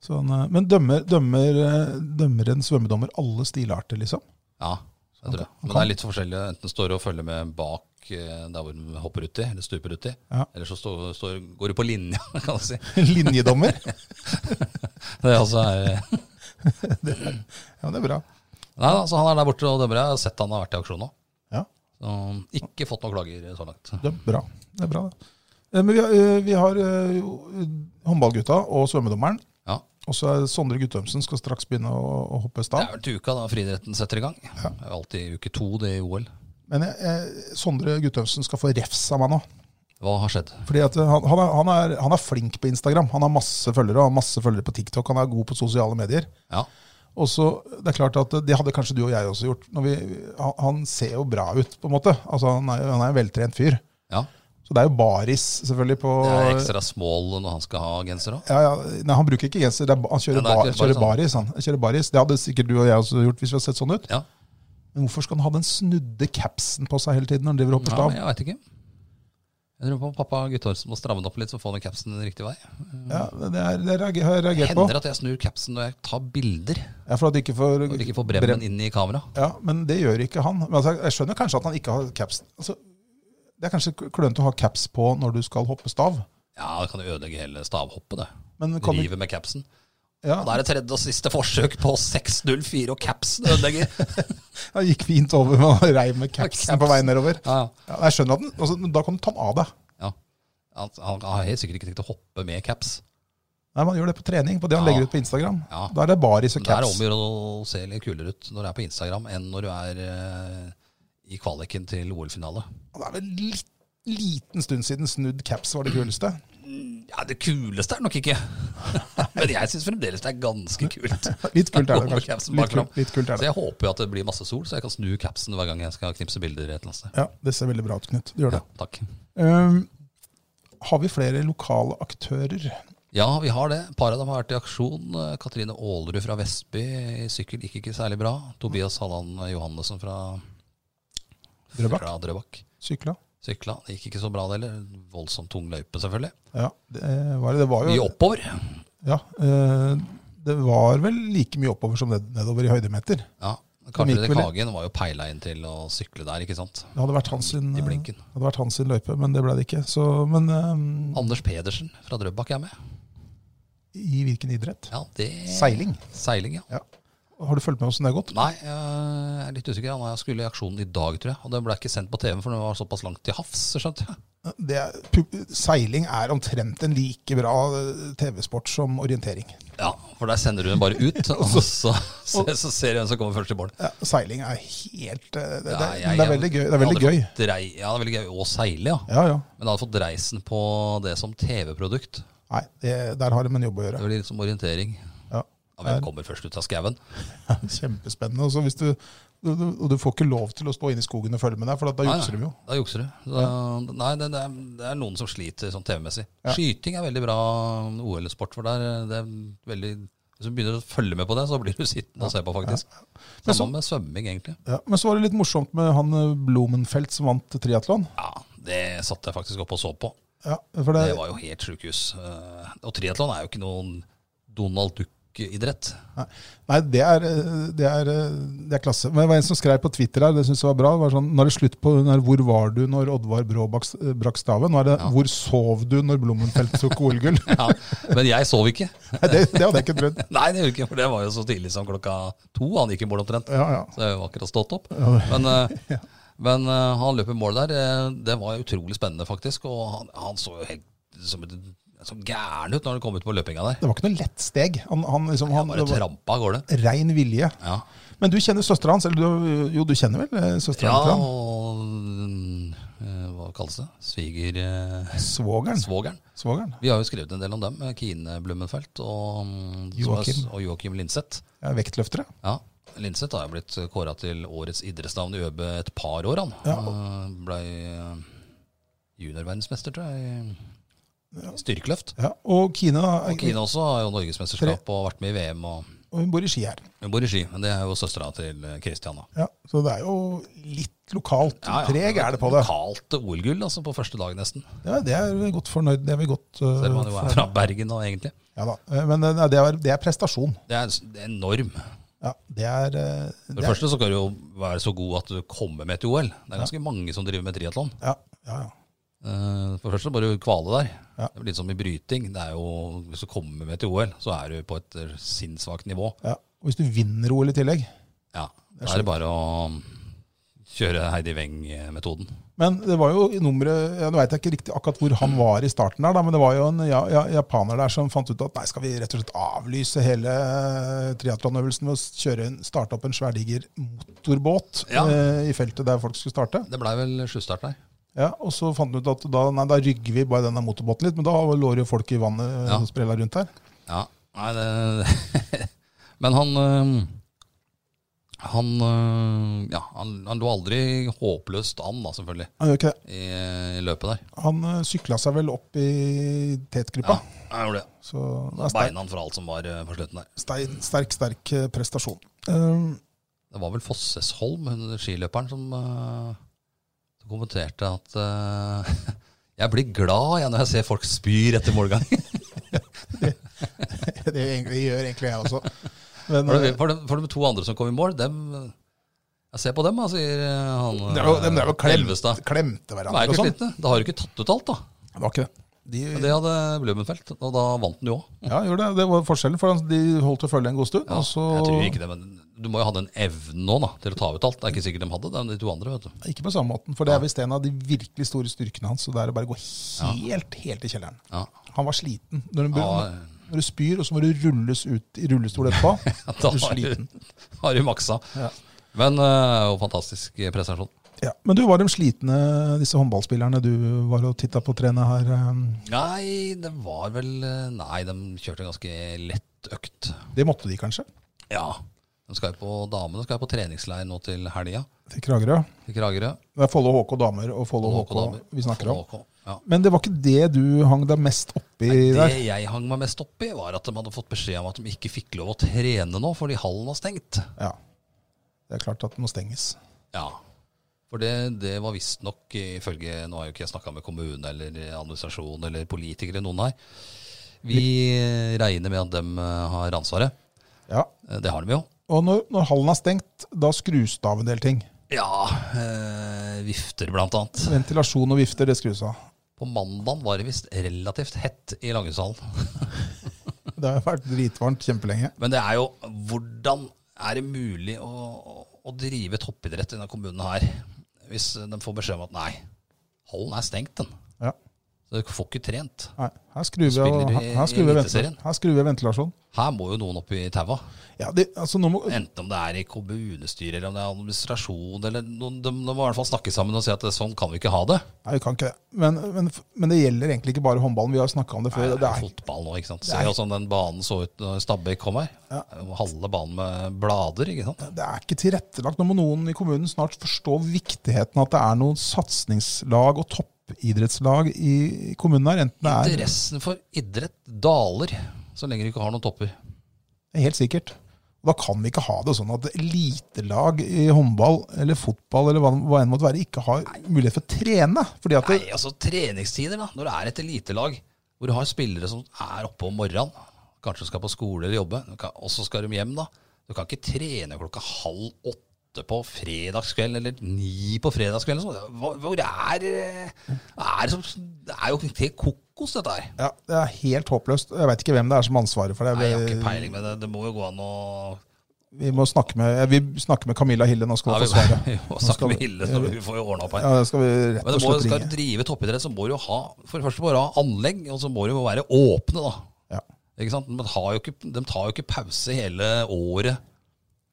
Speaker 1: Sånn, eh, men dømmer, dømmer, eh, dømmer en svømmedommer alle stilarter, liksom?
Speaker 2: Ja, jeg tror det. Men det er litt forskjellig. Enten står du og følger med bak eh, der hvor du hopper uti, eller stuper uti.
Speaker 1: Ja.
Speaker 2: Eller så står, står, går du på linja, kan du si.
Speaker 1: Linjedommer?
Speaker 2: Det er altså, er-
Speaker 1: Ja, det er bra.
Speaker 2: nei, altså, han er der borte og dømmer. Jeg har sett han har vært i aksjon nå.
Speaker 1: Ja.
Speaker 2: Så, ikke fått noen klager så langt.
Speaker 1: Det er bra. Det er bra det. Eh, Men vi har, eh, vi har eh, jo, eh, håndballgutta og svømmedommeren.
Speaker 2: Ja.
Speaker 1: Og så er Sondre Guttormsen skal straks begynne å, å hoppe
Speaker 2: Det er
Speaker 1: stav.
Speaker 2: vel til uka da friidretten setter i gang. Det er jo alltid uke to det i OL.
Speaker 1: Men jeg, jeg, Sondre Guttormsen skal få refs av meg nå.
Speaker 2: Hva har skjedd?
Speaker 1: Fordi at eh, han, han, er, han, er, han er flink på Instagram. Han har masse følgere og han har masse følgere på TikTok. Han er god på sosiale medier.
Speaker 2: Ja.
Speaker 1: Og så, det er klart at Det hadde kanskje du og jeg også gjort. Når vi, han, han ser jo bra ut, på en måte. Altså, Han er, jo- han er en veltrent fyr.
Speaker 2: ja.
Speaker 1: Så det er jo baris, selvfølgelig. på...
Speaker 2: Det er ekstra small når han skal ha genser òg.
Speaker 1: Ja, ja. Nei, han bruker ikke genser. Det er, ba- han kjører,
Speaker 2: Nei, det er
Speaker 1: bar,
Speaker 2: ikke bare
Speaker 1: kjører
Speaker 2: sånn.
Speaker 1: baris. Han. Han kjører baris. Det hadde sikkert du og jeg også gjort hvis vi hadde sett sånn ut.
Speaker 2: Ja.
Speaker 1: Men hvorfor skal han ha den snudde capsen på seg hele tiden når han driver og hopper
Speaker 2: Ja,
Speaker 1: stav?
Speaker 2: men jeg veit ikke. Jeg tror på pappa Guttormsen må stramme den opp litt, så får han den capsen den riktige vei.
Speaker 1: Ja, det, er, det reager- har jeg reagert på.
Speaker 2: Hender at jeg snur capsen når jeg tar bilder,
Speaker 1: Ja, for at de ikke får,
Speaker 2: og ikke får bremmen
Speaker 1: brem-
Speaker 2: inn i kamera.
Speaker 1: Ja, men det gjør ikke han. Men altså, jeg skjønner kanskje at han ikke har caps. Altså, det er kanskje klønete å ha caps på når du skal hoppe stav.
Speaker 2: Ja, det kan jo ødelegge hele stavhoppet, det.
Speaker 1: Men kan du,
Speaker 2: Rive med capsen.
Speaker 1: ja,
Speaker 2: Og da er det tredje og siste forsøk på 6.04, og capsen ødelegger.
Speaker 1: han gikk fint over med å reiv med
Speaker 2: Caps.
Speaker 1: capsen på vei nedover.
Speaker 2: Ja, ja.
Speaker 1: Ja, jeg skjønner at den, altså, men Da kan du ta den av deg.
Speaker 2: ja. Han, han har helt sikkert ikke tenkt å hoppe med caps.
Speaker 1: Nei, Man gjør det på trening, på det han
Speaker 2: Ja.
Speaker 1: legger ut på Instagram.
Speaker 2: Ja.
Speaker 1: Da er det baris og
Speaker 2: Men det er
Speaker 1: caps.
Speaker 2: om å gjøre å se litt kulere ut når du er på Instagram, enn når du er eh, i kvaliken til OL-finale.
Speaker 1: Og Det er vel litt, liten stund siden snudd caps var det kuleste.
Speaker 2: Ja, det kuleste er det nok ikke. Men jeg syns fremdeles det er ganske kult.
Speaker 1: Litt kult er det
Speaker 2: Over
Speaker 1: kanskje.
Speaker 2: capsen bak
Speaker 1: Litt
Speaker 2: fram.
Speaker 1: kult, litt kult er
Speaker 2: Så
Speaker 1: det.
Speaker 2: jeg håper jo at det blir masse sol, så jeg kan snu capsen hver gang jeg skal knipse bilder et eller annet sted.
Speaker 1: Ja, Det ser veldig bra ut, Knut. Du gjør
Speaker 2: Ja,
Speaker 1: det.
Speaker 2: takk.
Speaker 1: Um, har vi flere lokale aktører.
Speaker 2: Ja, vi har det. Et par av dem har vært i aksjon. Eh, Katrine Aalerud fra Vestby i sykkel gikk ikke særlig bra. Tobias Halland Johannessen fra
Speaker 1: Drøbak.
Speaker 2: fra Drøbak.
Speaker 1: Sykla.
Speaker 2: Sykla. Det gikk ikke så bra, det heller. Voldsomt tung løype, selvfølgelig.
Speaker 1: Ja, det var, det. det var
Speaker 2: Mye
Speaker 1: jo
Speaker 2: oppover.
Speaker 1: ja, eh, Det var vel like mye oppover som ned, nedover i høydemeter.
Speaker 2: Ja.
Speaker 1: De
Speaker 2: Karl
Speaker 1: gikk
Speaker 2: Fredrik
Speaker 1: vel-
Speaker 2: Hagen var jo peila inn til å sykle der, ikke sant.
Speaker 1: Det hadde vært hans sin,
Speaker 2: I
Speaker 1: eh,
Speaker 2: blinken.
Speaker 1: hadde vært hans sin løype, men det ble det ikke. Så, men eh,
Speaker 2: Anders Pedersen fra Drøbak er med.
Speaker 1: i hvilken idrett?
Speaker 2: Ja, det...
Speaker 1: Seiling.
Speaker 2: Seiling, ja.
Speaker 1: Har du fulgt med hvordan det har gått?
Speaker 2: Nei, jeg er litt usikker. Han skulle i aksjonen i dag, tror jeg. Og den ble ikke sendt på TV, for den var såpass langt til havs, skjønte jeg.
Speaker 1: Det er, pu- seiling er omtrent en like bra eh, TV-sport som orientering.
Speaker 2: Ja, for der sender du den bare ut, og så, så, så ser du hvem som kommer først i mål.
Speaker 1: Ja, seiling er helt eh, Det, det,
Speaker 2: Ja, jeg-
Speaker 1: det er veldig gøy. Det er veldig
Speaker 2: jeg
Speaker 1: gøy.
Speaker 2: hadde fått Drei, ja, det er veldig gøy å seile, ja.
Speaker 1: Ja, ja.
Speaker 2: Men jeg hadde fått dreisen på det som TV-produkt.
Speaker 1: Nei, det, der har de en jobb å
Speaker 2: Det
Speaker 1: gjøre.
Speaker 2: blir litt som orientering.
Speaker 1: Ja.
Speaker 2: Ja, hvem kommer først ut av skauen?
Speaker 1: Kjempespennende. Og så hvis du, du, du, og du får ikke lov til å stå inne i skogen og følge med deg, for da
Speaker 2: Nei,
Speaker 1: jukser de jo.
Speaker 2: Da jukser du. Da, nei, det, det, er, det er noen som sliter sånn TV-messig.
Speaker 1: Ja.
Speaker 2: Skyting er veldig bra OL-sport for der. eh, Det er veldig, hvis du begynner å følge med på det, så blir du sittende og se på, faktisk.
Speaker 1: Men så-
Speaker 2: Samme med svømming, egentlig.
Speaker 1: Ja, men så var det litt morsomt med han eh, Blumenfeld som vant triatlon.
Speaker 2: Ja, Det satt jeg faktisk opp og så på.
Speaker 1: Ja, for det,
Speaker 2: Det var jo helt sjukehus. Eh, Og triatlon er jo ikke noen Donald Duck-idrett.
Speaker 1: Nei, det er, eh, det, er, eh, det er klasse. Men det var en som skrev på Twitter her, det syns jeg var bra. Det var sånn, når det er slutt på den her 'Hvor var du når Oddvar Brå bak- eh, brakk staven?' Nå er det
Speaker 2: Ja.
Speaker 1: 'Hvor sov du når Blumenfeld tok OL-gull?'
Speaker 2: Ja, men jeg sov ikke.
Speaker 1: Nei, det, det hadde jeg ikke trodd.
Speaker 2: Nei, det gjorde ikke, for det var jo så tidlig som klokka to han gikk i mål omtrent.
Speaker 1: Ja, ja.
Speaker 2: Så jeg var akkurat stått opp. Men, eh, men eh, han løp i mål der. eh, Det var utrolig spennende, faktisk. Og han, han så jo helt som et som gæren ut når han kom ut på løpinga der.
Speaker 1: Det var ikke noe lett steg. Han, han, liksom, han,
Speaker 2: Bare
Speaker 1: det var
Speaker 2: trampa av gårde.
Speaker 1: rein vilje.
Speaker 2: Ja.
Speaker 1: Men du kjenner søstera hans? Eller du, jo, du kjenner vel eh, søstera
Speaker 2: ja,
Speaker 1: ja. hans?
Speaker 2: og eh, hva kalles det? Sviger... eh,
Speaker 1: Svogeren.
Speaker 2: Svogeren.
Speaker 1: Svogeren.
Speaker 2: Vi har jo skrevet en del om dem. eh, Kine Blummenfelt og mm,
Speaker 1: Joakim.
Speaker 2: og Joakim Linseth.
Speaker 1: Ja, vektløftere.
Speaker 2: Ja, Linseth har jo blitt kåra til årets idrettsnavn i ØB et par år. Han
Speaker 1: Ja.
Speaker 2: Eh, Blei eh, juniorverdensmester, tror jeg, i styrkeløft.
Speaker 1: Ja, og Kine, da,
Speaker 2: Og Kine også har jo norgesmesterskap og vært med i VM. og
Speaker 1: og hun bor i Ski her.
Speaker 2: Hun bor i Ski, men det er jo søstera til eh, Kristian.
Speaker 1: Ja, så det er jo litt lokalt preg er det på det.
Speaker 2: Lokalt OL-gull altså, på første dag, nesten.
Speaker 1: Ja, det er vi godt fornøyd. Det er vi godt uh,
Speaker 2: Selv om han jo er
Speaker 1: fornøyd-
Speaker 2: fra Bergen, da, egentlig.
Speaker 1: Ja da. Eh, Men eh, nei, det er, det er prestasjon.
Speaker 2: Det er, det er enorm.
Speaker 1: Ja, det er, eh,
Speaker 2: For det
Speaker 1: det er
Speaker 2: første så skal du jo være så god at du kommer med til OL. Det er ganske mange som driver med triatlon.
Speaker 1: ja, ja, ja.
Speaker 2: Eh, For først så bare kvale der.
Speaker 1: Ja.
Speaker 2: Det blir litt som i bryting. Det er jo, hvis du kommer med til OL, så er du på et eh, sinnssvakt nivå.
Speaker 1: ja. Og hvis du vinner OL i tillegg
Speaker 2: Ja, Da er det bare å kjøre Heidi Weng-metoden.
Speaker 1: Men det var jo i nummeret ja, Nå veit jeg ikke riktig akkurat hvor han var i starten, der, da, men det var jo en ja, ja, japaner der som fant ut at nei, skal vi rett og slett avlyse hele eh, triatlonøvelsen ved å kjøre en, starte opp en sværdiger motorbåt
Speaker 2: Ja.
Speaker 1: eh, i feltet der folk skulle starte?
Speaker 2: Det blei vel sjustart der.
Speaker 1: Ja, Og så fant han ut at da, nei, da rygger vi bare denne motorbåten litt, men da lå det jo folk i vannet eh,
Speaker 2: Ja.
Speaker 1: og sprella rundt her.
Speaker 2: Ja, nei det Men han eh, han, eh, ja, han, han lå aldri håpløst an, da, selvfølgelig,
Speaker 1: Han gjør ikke det.
Speaker 2: i, i løpet der.
Speaker 1: Han eh, sykla seg vel opp i tetgruppa.
Speaker 2: Han gjorde det.
Speaker 1: Så det er sterk,
Speaker 2: Beina for alt som var eh, på slutten der.
Speaker 1: stein, sterk, sterk eh, prestasjon. Um,
Speaker 2: Det var vel Fossesholm, hun skiløperen, som eh, som kommenterte at eh, jeg blir glad jeg, når jeg ser folk spyr etter målgang.
Speaker 1: det, gjør egentlig- det gjør egentlig jeg også. Men,
Speaker 2: For de,
Speaker 1: eh,
Speaker 2: for, de, for de to andre som kom i mål, dem, eh, jeg ser på dem, da, sier eh, han
Speaker 1: Det er jo, de er jo
Speaker 2: eh,
Speaker 1: klemte,
Speaker 2: Elvestad.
Speaker 1: klemte
Speaker 2: De er
Speaker 1: hverandre
Speaker 2: jo
Speaker 1: og
Speaker 2: ikke
Speaker 1: sånn.
Speaker 2: slitne. Da har du ikke tatt ut alt, da.
Speaker 1: Det var ikke det. De,
Speaker 2: Men det hadde Blummenfelt, og da vant han jo òg.
Speaker 1: ja, gjorde det. det var forskjellen, for han- de holdt å følge en god stund. og så,
Speaker 2: Jeg tror ikke det, men du må jo ha den evnen nå da, til å ta ut alt. Det er ikke sikkert de hadde det, de to andre. vet du.
Speaker 1: Ikke på samme måten, for det er visst en av de virkelig store styrkene hans. Så det er å bare gå helt, helt i kjelleren.
Speaker 2: Ja.
Speaker 1: Han var sliten. Når du,
Speaker 2: Ja, eh.
Speaker 1: når du spyr, og så må du rulles ut i rullestol etterpå.
Speaker 2: Da
Speaker 1: er du
Speaker 2: har
Speaker 1: sliten.
Speaker 2: du, har du maksa.
Speaker 1: Ja.
Speaker 2: Men eh, jo, fantastisk prestasjon.
Speaker 1: Ja. Men du, var de slitne, disse håndballspillerne du var og titta på trene her? eh,
Speaker 2: Nei, det var vel eh, Nei, de kjørte en ganske lett økt.
Speaker 1: Det måtte de kanskje?
Speaker 2: Ja. De skal jo på damene skal jo på treningsleir nå til helga
Speaker 1: Til Kragerø?
Speaker 2: i Kragerø.
Speaker 1: Det er Follo HK damer og Follo
Speaker 2: Og
Speaker 1: HK
Speaker 2: damer.
Speaker 1: vi snakker om.
Speaker 2: HK, Ja.
Speaker 1: Men det var ikke det du hang deg mest oppi
Speaker 2: Nei,
Speaker 1: der?
Speaker 2: det jeg hang meg mest opp i, var at de hadde fått beskjed om at de ikke fikk lov å trene nå fordi hallen var stengt.
Speaker 1: Ja. Det er klart at den må stenges.
Speaker 2: Ja. For det, det var visstnok ifølge Nå har jo ikke jeg snakka med kommune eller administrasjon eller politikere, noen her. Vi regner med at dem eh, har ansvaret.
Speaker 1: Ja.
Speaker 2: Eh, Det har de jo.
Speaker 1: Og når, når hallen er stengt, da skrus det av en del ting.
Speaker 2: Ja. Eh, vifter, blant annet.
Speaker 1: Ventilasjon og vifter, det skrus av.
Speaker 2: På mandagen var det visst relativt hett i Langesalen.
Speaker 1: Det har vært dritvarmt kjempelenge.
Speaker 2: Men det er jo Hvordan er det mulig å, å- å drive toppidrett i denne kommunen her hvis de får beskjed om at nei, hallen er stengt, den.
Speaker 1: Ja.
Speaker 2: Så dere får ikke trent.
Speaker 1: Nei, her skrur vi,
Speaker 2: Spiller
Speaker 1: av-
Speaker 2: i
Speaker 1: her, her skrur vi, av ventilasjon.
Speaker 2: Eliteserien.
Speaker 1: Her skrur vi av ventilasjon.
Speaker 2: Her må jo noen opp i taua.
Speaker 1: Ja, det, altså nå må,
Speaker 2: Enten om det er i kommunestyret eller om det er administrasjon eller noen, de, de må i hvert fall snakke sammen og si at sånn kan vi ikke ha det.
Speaker 1: nei, vi kan ikke det. Men, men, men det gjelder egentlig ikke bare håndballen. Vi har snakka om det før.
Speaker 2: Nei,
Speaker 1: det
Speaker 2: er
Speaker 1: er,
Speaker 2: fotball nå, ikke sant. Se jo sånn den banen så ut når Stabæk kom her. Halve banen med blader, ikke sant.
Speaker 1: det er ikke tilrettelagt. Nå må noen i kommunen snart forstå viktigheten av at det er noen satsingslag og toppidrettslag i kommunen her. Enten det er
Speaker 2: Interessen for idrett daler så lenge du ikke har noen topper.
Speaker 1: Helt sikkert. Og Da kan vi ikke ha det sånn at elitelag i håndball eller fotball eller hva, hva enn måtte være, ikke har mulighet for å trene. Fordi at det,
Speaker 2: Nei, altså treningstider, da. Når det er et elitelag hvor du har spillere som er oppe om morgenen, kanskje skal på skole eller jobbe, du kan- og så skal de hjem, da. Du kan ikke trene klokka halv åtte på fredagskvelden eller ni på fredagskvelden. og sånn. Hva- Hvor er, eh, er det, som, det er jo helt kokos, dette her.
Speaker 1: ja, det er helt håpløst. Jeg veit ikke hvem det er som har ansvaret for det.
Speaker 2: Nei, jeg har ikke peiling med det. Det må jo gå an å
Speaker 1: Vi må snakke med, vi snakker med Camilla Hille. Nå skal
Speaker 2: ja,
Speaker 1: hun
Speaker 2: vi,
Speaker 1: få svaret.
Speaker 2: vi må
Speaker 1: Nå skal
Speaker 2: snakke med
Speaker 1: vi-
Speaker 2: Hille, så vi får jo ordna opp her.
Speaker 1: Ja, det skal vi rett
Speaker 2: Men det
Speaker 1: og
Speaker 2: må,
Speaker 1: slett
Speaker 2: skal du
Speaker 1: ringe.
Speaker 2: drive toppidrett, så må du jo ha For det første må du ha anlegg, og så må du jo være åpne, da.
Speaker 1: Ja.
Speaker 2: Ikke sant? De, har jo ikke, de tar jo ikke pause hele året,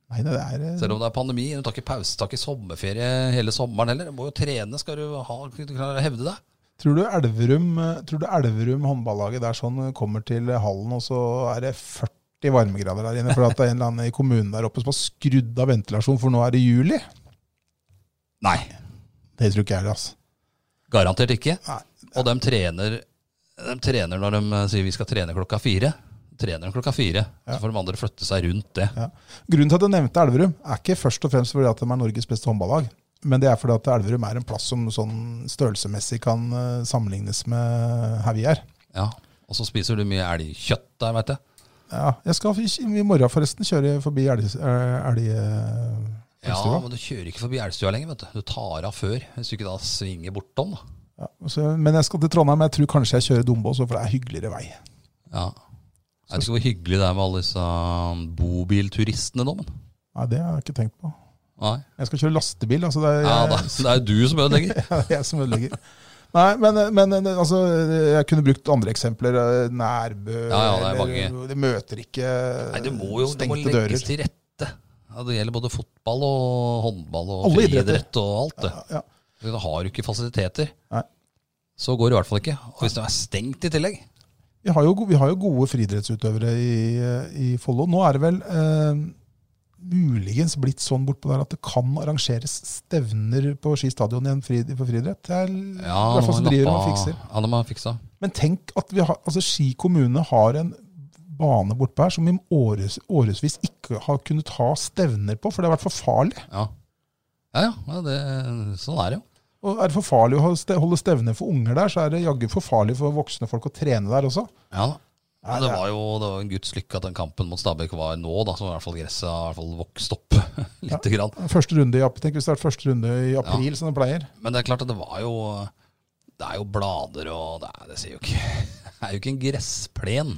Speaker 1: Nei, det er eh,
Speaker 2: selv om det er pandemi. De tar ikke pause, tar ikke sommerferie hele sommeren heller. De må jo trene, skal du ha, klare å hevde deg.
Speaker 1: Tror du Elverum, eh, tror du Elverum håndballaget der sånn eh, kommer til eh, hallen, og så er det 40 varmegrader der inne, for at det er en eller annen i kommunen der oppe som har skrudd av ventilasjon, for nå er det juli?
Speaker 2: Nei,
Speaker 1: Det tror ikke jeg, altså.
Speaker 2: garantert ikke.
Speaker 1: Nei.
Speaker 2: Og de trener, de trener når de eh, sier vi skal trene klokka fire. Trener de klokka fire, så får de andre flytte seg rundt det.
Speaker 1: Ja. Grunnen til at jeg nevnte Elverum, er ikke først og fremst fordi at de er Norges beste håndballag, men det er fordi at Elverum er en plass som sånn størrelsemessig kan eh, sammenlignes med her vi er.
Speaker 2: Ja. Og så spiser du mye elgkjøtt der, veit jeg.
Speaker 1: Ja, jeg skal i morgen forresten kjøre forbi elg... eh, elg eh,
Speaker 2: Ja,
Speaker 1: festiva.
Speaker 2: men du kjører ikke forbi elgstua lenger, vet du. Du tar av før, hvis du ikke da svinger bortom. da.
Speaker 1: Ja, så, men jeg skal til Trondheim. Jeg tror kanskje jeg kjører Dombås, for det er hyggeligere vei.
Speaker 2: Ja. Jeg vet ikke hvor hyggelig det er med alle disse um, bobilturistene nå, men.
Speaker 1: Nei, Det har jeg ikke tenkt på.
Speaker 2: Nei.
Speaker 1: Jeg skal kjøre lastebil. altså det er
Speaker 2: Ja,
Speaker 1: jeg,
Speaker 2: da, det er jo du som ødelegger.
Speaker 1: det er jeg som ødelegger. Nei, men, men altså, jeg kunne brukt andre eksempler. eh, Nærbø
Speaker 2: Ja, ja, det er
Speaker 1: eller- Det møter ikke
Speaker 2: Nei, det må jo det må
Speaker 1: stengte dører.
Speaker 2: legges til rette. Ja, det gjelder både fotball og håndball og
Speaker 1: Alle idretter.
Speaker 2: friidrett og alt det.
Speaker 1: Ja,
Speaker 2: Så Da har du ikke fasiliteter,
Speaker 1: Nei.
Speaker 2: så går det i hvert fall ikke. Og hvis det er stengt i tillegg
Speaker 1: vi, har jo, go- vi har jo gode friidrettsutøvere i, eh, i Follo. Nå er det vel eh, muligens blitt sånn bortpå der at det kan arrangeres stevner på Ski stadion igjen fri, for friidrett. Det er i hvert fall så
Speaker 2: de
Speaker 1: driver de og
Speaker 2: lappa-
Speaker 1: fikser.
Speaker 2: Ja, de har fiksa.
Speaker 1: Men tenk at vi har, altså Ski kommune har en bane bortpå her som i åres, årevis ikke har kunnet ha stevner på, for det har vært for farlig.
Speaker 2: Ja. Ja, ja, ja det, sånn er det jo.
Speaker 1: Og Er det for farlig å ha ste- holde stevner for unger der, så er det jaggu for farlig for voksne folk å trene der også.
Speaker 2: Ja da. Men
Speaker 1: Nei,
Speaker 2: det
Speaker 1: det-
Speaker 2: var jo det var en guds lykke at den kampen mot Stabæk var nå, da, så i hvert fall gresset har i hvert fall vokst opp lite grann.
Speaker 1: Første runde i april, tenk hvis det er første runde i april, som det pleier.
Speaker 2: Men det er klart at det var jo Det er jo blader og Det er, det sier jo ikke, det er jo ikke en gressplen.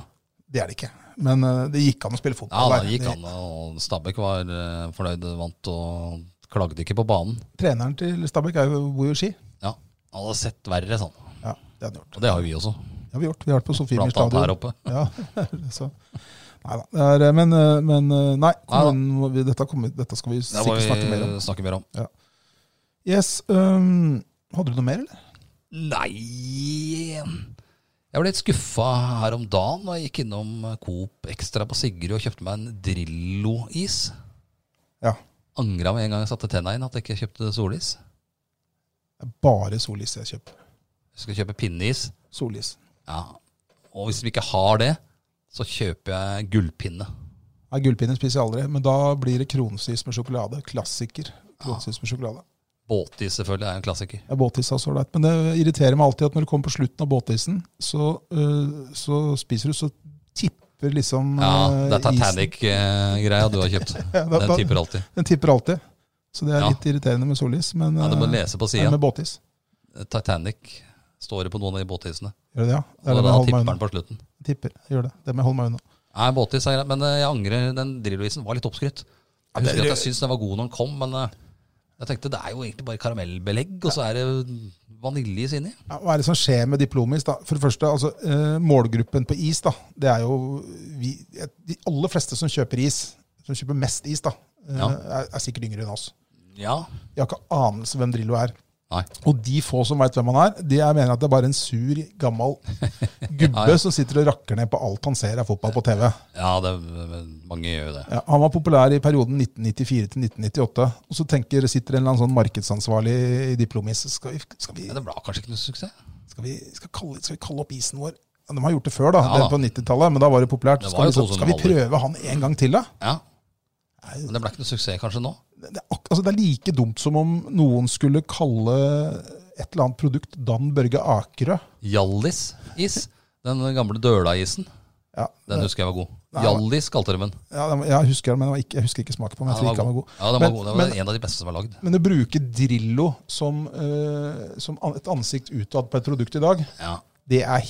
Speaker 1: Det er det ikke. Men eh, det gikk an å spille
Speaker 2: Ja,
Speaker 1: fotball
Speaker 2: det gikk an. og Stabæk var eh, fornøyd, vant og klagde ikke på banen.
Speaker 1: Treneren til Stabæk er jo bor jo i Ski.
Speaker 2: Ja, Han hadde sett verre, sånn.
Speaker 1: Ja, det har han gjort.
Speaker 2: Og det har jo vi også.
Speaker 1: Det har vi gjort. Vi har vært på Sofiemyr
Speaker 2: Blant annet
Speaker 1: stadion.
Speaker 2: her oppe.
Speaker 1: Ja, så. Nei da. Det er, men, eh, men eh, nei, kommunen, må vi- dette, kommer, dette skal vi
Speaker 2: Det må
Speaker 1: sikkert
Speaker 2: vi
Speaker 1: snakke mer om.
Speaker 2: snakke mer om.
Speaker 1: Yes, øhm, Hadde du noe mer, eller?
Speaker 2: Nei Jeg ble litt skuffa her om dagen da jeg gikk innom Coop Extra på Sigrid og kjøpte meg en Drillo-is.
Speaker 1: Ja.
Speaker 2: Angra med en gang jeg satte tenna inn at jeg ikke kjøpte solis.
Speaker 1: Det er Bare solis jeg kjøper.
Speaker 2: skal kjøpe pinneis.
Speaker 1: Solis.
Speaker 2: Ja. Og hvis vi ikke har det, så kjøper jeg gullpinne.
Speaker 1: Nei, Gullpinner spiser jeg aldri, men da blir det kronsis med sjokolade. Klassiker. Kronsis med sjokolade.
Speaker 2: Båtis selvfølgelig er en klassiker.
Speaker 1: Ja, båtis er så ålreit, men det irriterer meg alltid at når du kommer på slutten av båtisen, så, øh, så spiser du, så tipper liksom
Speaker 2: Ja, det er
Speaker 1: øh,
Speaker 2: Titanic-greia du har kjøpt.
Speaker 1: Ja, da-
Speaker 2: Den
Speaker 1: da-
Speaker 2: tipper alltid.
Speaker 1: isen. Den tipper alltid. Så det er
Speaker 2: Ja.
Speaker 1: litt irriterende med solis, men
Speaker 2: Ja, du må
Speaker 1: øh,
Speaker 2: lese på
Speaker 1: nei,
Speaker 2: sida.
Speaker 1: med båtis.
Speaker 2: Titanic står det på noen av de båtisene.
Speaker 1: Gjør det, ja?
Speaker 2: Og
Speaker 1: Det er
Speaker 2: da
Speaker 1: det med å holde
Speaker 2: tipper
Speaker 1: meg
Speaker 2: den
Speaker 1: unna.
Speaker 2: på slutten.
Speaker 1: Tipper. Gjør det. Det med å holde meg unna.
Speaker 2: Nei, båtis er greit, men eh, jeg angrer. Den drillvisen var litt oppskrytt. Jeg
Speaker 1: det-
Speaker 2: husker at jeg syntes den var god når den kom, men eh, jeg tenkte det er jo egentlig bare karamellbelegg, og så er det vaniljeis inni.
Speaker 1: Ja, hva er det som skjer med diplomis? da? For det første, altså, eh, Målgruppen på is da, det er jo vi, De aller fleste som kjøper is, som kjøper mest is, da, eh,
Speaker 2: Ja.
Speaker 1: er, er sikkert yngre enn oss.
Speaker 2: Ja.
Speaker 1: De har ikke anelse hvem Drillo er.
Speaker 2: Nei.
Speaker 1: Og de få som veit hvem han er, de er, mener at det er bare en sur, gammel gubbe
Speaker 2: Ja, ja.
Speaker 1: som sitter og rakker ned på alt han ser av fotball på TV.
Speaker 2: Ja, det, men mange gjør jo det.
Speaker 1: Ja, han var populær i perioden 1994 til 1998. Og så tenker, sitter en eller annen sånn markedsansvarlig i diplomis. Skal vi, skal vi
Speaker 2: Men det ble kanskje ikke noe suksess?
Speaker 1: skal vi, skal, kalle, skal vi kalle opp isen vår? Ja, De har gjort det før, da.
Speaker 2: Ja,
Speaker 1: det
Speaker 2: da.
Speaker 1: er på 90-tallet, men da var det populært.
Speaker 2: Det var jo
Speaker 1: skal, vi, så-
Speaker 2: sånn som
Speaker 1: skal vi prøve han en gang til, da?
Speaker 2: Ja.
Speaker 1: Nei,
Speaker 2: Men det ble ikke noe suksess kanskje nå?
Speaker 1: Det, det, er ak- altså, det er like dumt som om noen skulle kalle et eller annet produkt Dan Børge Akerø.
Speaker 2: Hjallis-is. Den gamle Døla-isen.
Speaker 1: Ja,
Speaker 2: Den husker jeg var god.
Speaker 1: Nei,
Speaker 2: Hjallis kalte de den.
Speaker 1: ja, den- jeg husker den, men den var ikke, jeg husker ikke smaken på den.
Speaker 2: Ja,
Speaker 1: Jeg
Speaker 2: den
Speaker 1: tror ikke den var god.
Speaker 2: Ja, den var
Speaker 1: Men-
Speaker 2: god. Det
Speaker 1: men-
Speaker 2: var en av de beste som var lagd.
Speaker 1: Men å bruke Drillo som, eh, som an- et ansikt utad på et produkt i dag,
Speaker 2: Ja.
Speaker 1: det er
Speaker 2: Det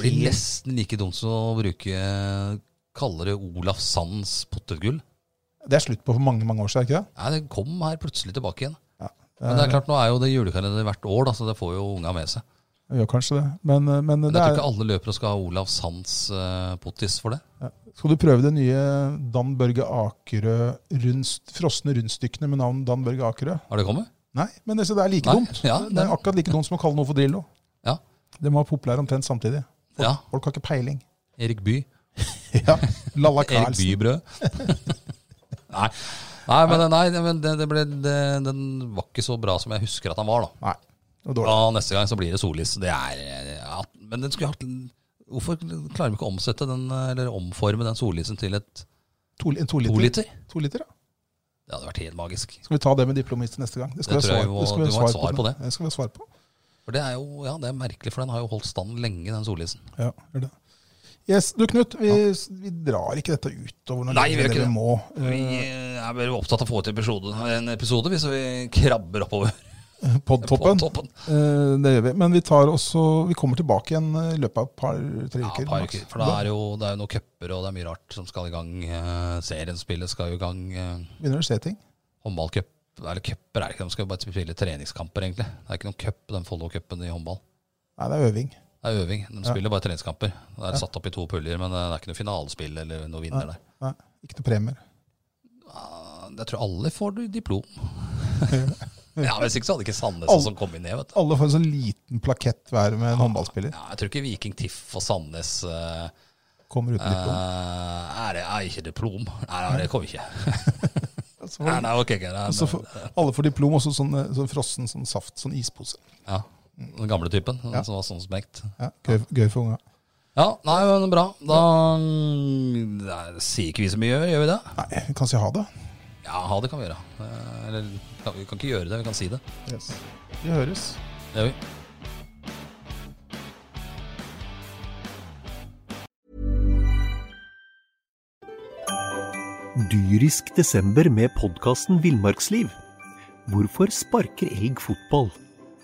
Speaker 2: blir
Speaker 1: helt
Speaker 2: nesten like dumt som å bruke Kaller det Olaf Sands potetgull.
Speaker 1: Det er slutt på for mange mange år siden, er det Eh, ikke det?
Speaker 2: Nei, det kom her plutselig tilbake igjen.
Speaker 1: Ja.
Speaker 2: Men det er klart, nå er jo det julekalender hvert år, da, så det får jo unga med seg.
Speaker 1: Det Gjør kanskje det. Men, eh, men
Speaker 2: Men
Speaker 1: det
Speaker 2: jeg tror
Speaker 1: er,
Speaker 2: ikke alle løpere skal ha Olav Sands eh, pottis for det.
Speaker 1: Skal du prøve det nye Dan Børge Akerø rundst, frosne rundstykkene med navn Dan Børge Akerø?
Speaker 2: Har det kommet?
Speaker 1: Nei, men altså, det er like
Speaker 2: Nei,
Speaker 1: dumt.
Speaker 2: ja,
Speaker 1: det er akkurat like dumt som å kalle noe for Drillo.
Speaker 2: Ja.
Speaker 1: De var populære omtrent samtidig. Folk,
Speaker 2: Ja.
Speaker 1: folk har ikke peiling.
Speaker 2: Erik Bye.
Speaker 1: Ja. Lalla
Speaker 2: Erik
Speaker 1: Karlsen.
Speaker 2: Bye-brød. nei. nei, men, eh, nei, men det, det ble, det, den var ikke så bra som jeg husker at den var, da.
Speaker 1: Nei, det var dårlig.
Speaker 2: Ja, neste gang så blir det Solis. Det er, ja, men den skulle hatt Hvorfor klarer vi ikke å omsette den, eh, eller omforme den Solisen til et
Speaker 1: To, en
Speaker 2: to
Speaker 1: to liter.
Speaker 2: liter?
Speaker 1: To liter, ja.
Speaker 2: Det hadde vært helt magisk.
Speaker 1: Skal vi ta det med diplomist til neste gang? Det skal
Speaker 2: Det
Speaker 1: vi
Speaker 2: tror
Speaker 1: ha
Speaker 2: jeg vi
Speaker 1: svar,
Speaker 2: må-
Speaker 1: det skal vi
Speaker 2: du må
Speaker 1: ha
Speaker 2: ha et
Speaker 1: svar på.
Speaker 2: svar på det.
Speaker 1: Det skal vi ha svar på.
Speaker 2: For det er jo ja, det er merkelig, for den har jo holdt stand lenge, den Solisen.
Speaker 1: Ja, gjør det. Yes, du Knut, vi, vi drar ikke dette utover noe
Speaker 2: Nei, vi
Speaker 1: lenger
Speaker 2: gjør
Speaker 1: enn det
Speaker 2: ikke
Speaker 1: vi må. eh,
Speaker 2: Vi eh, er vel opptatt av å få til episode, en episode hvis vi krabber oppover
Speaker 1: Eh,
Speaker 2: på
Speaker 1: Podtoppen.
Speaker 2: toppen.
Speaker 1: Eh, Det gjør vi. Men vi, tar også, vi kommer tilbake igjen eh, i løpet av et par-tre
Speaker 2: Ja,
Speaker 1: uker.
Speaker 2: par
Speaker 1: maks.
Speaker 2: uker. For da er jo, det er jo noen cuper og det er mye rart som skal i gang. Eh, Serienspillet skal jo i gang. Eh,
Speaker 1: Da begynner det å skje ting.
Speaker 2: Håndballcup eller cuper er det ikke, de skal bare spille treningskamper, egentlig. Det er ikke noen cup, den Follo-cupen i håndball.
Speaker 1: Nei, det er øving.
Speaker 2: Det er øving. De
Speaker 1: Ja.
Speaker 2: spiller bare treningskamper. Det er satt opp i to puljer, men eh, det er ikke noe finalespill eller noe vinner der.
Speaker 1: Nei, ikke noe premier.
Speaker 2: Ah, Jeg tror alle får du diplom. ja, Hvis ikke så hadde ikke Sandnes
Speaker 1: Alle-
Speaker 2: som kom inn ned, vet du.
Speaker 1: Alle får en sånn liten plakett hver med en håndballspiller.
Speaker 2: Ja, jeg tror ikke Viking Tiff og Sandnes eh,
Speaker 1: Kommer uten diplom.
Speaker 2: eh, Er det er ikke diplom? Nei, nei, det kom ikke. Altså,
Speaker 1: Så
Speaker 2: Nei,
Speaker 1: får-
Speaker 2: nei, ok, ok, nei,
Speaker 1: Så
Speaker 2: nei.
Speaker 1: får, alle får diplom, og så sånn, eh, sånn frossen sånn saft, sånn ispose.
Speaker 2: Ja, Den gamle typen
Speaker 1: Ja.
Speaker 2: som var sånn smengt.
Speaker 1: Ja, gøy, gøy for unga.
Speaker 2: Ja, nei, men bra. Da mm, nei, sier ikke vi så mye, gjør vi det?
Speaker 1: Nei, vi kan si ha det.
Speaker 2: Ja, ha det kan vi gjøre. Eh, Eller ja, vi kan ikke gjøre det, vi kan si det.
Speaker 1: Yes. Vi høres.
Speaker 2: Det gjør vi.
Speaker 3: Dyrisk desember med podkasten Villmarksliv. Hvorfor sparker elg fotball?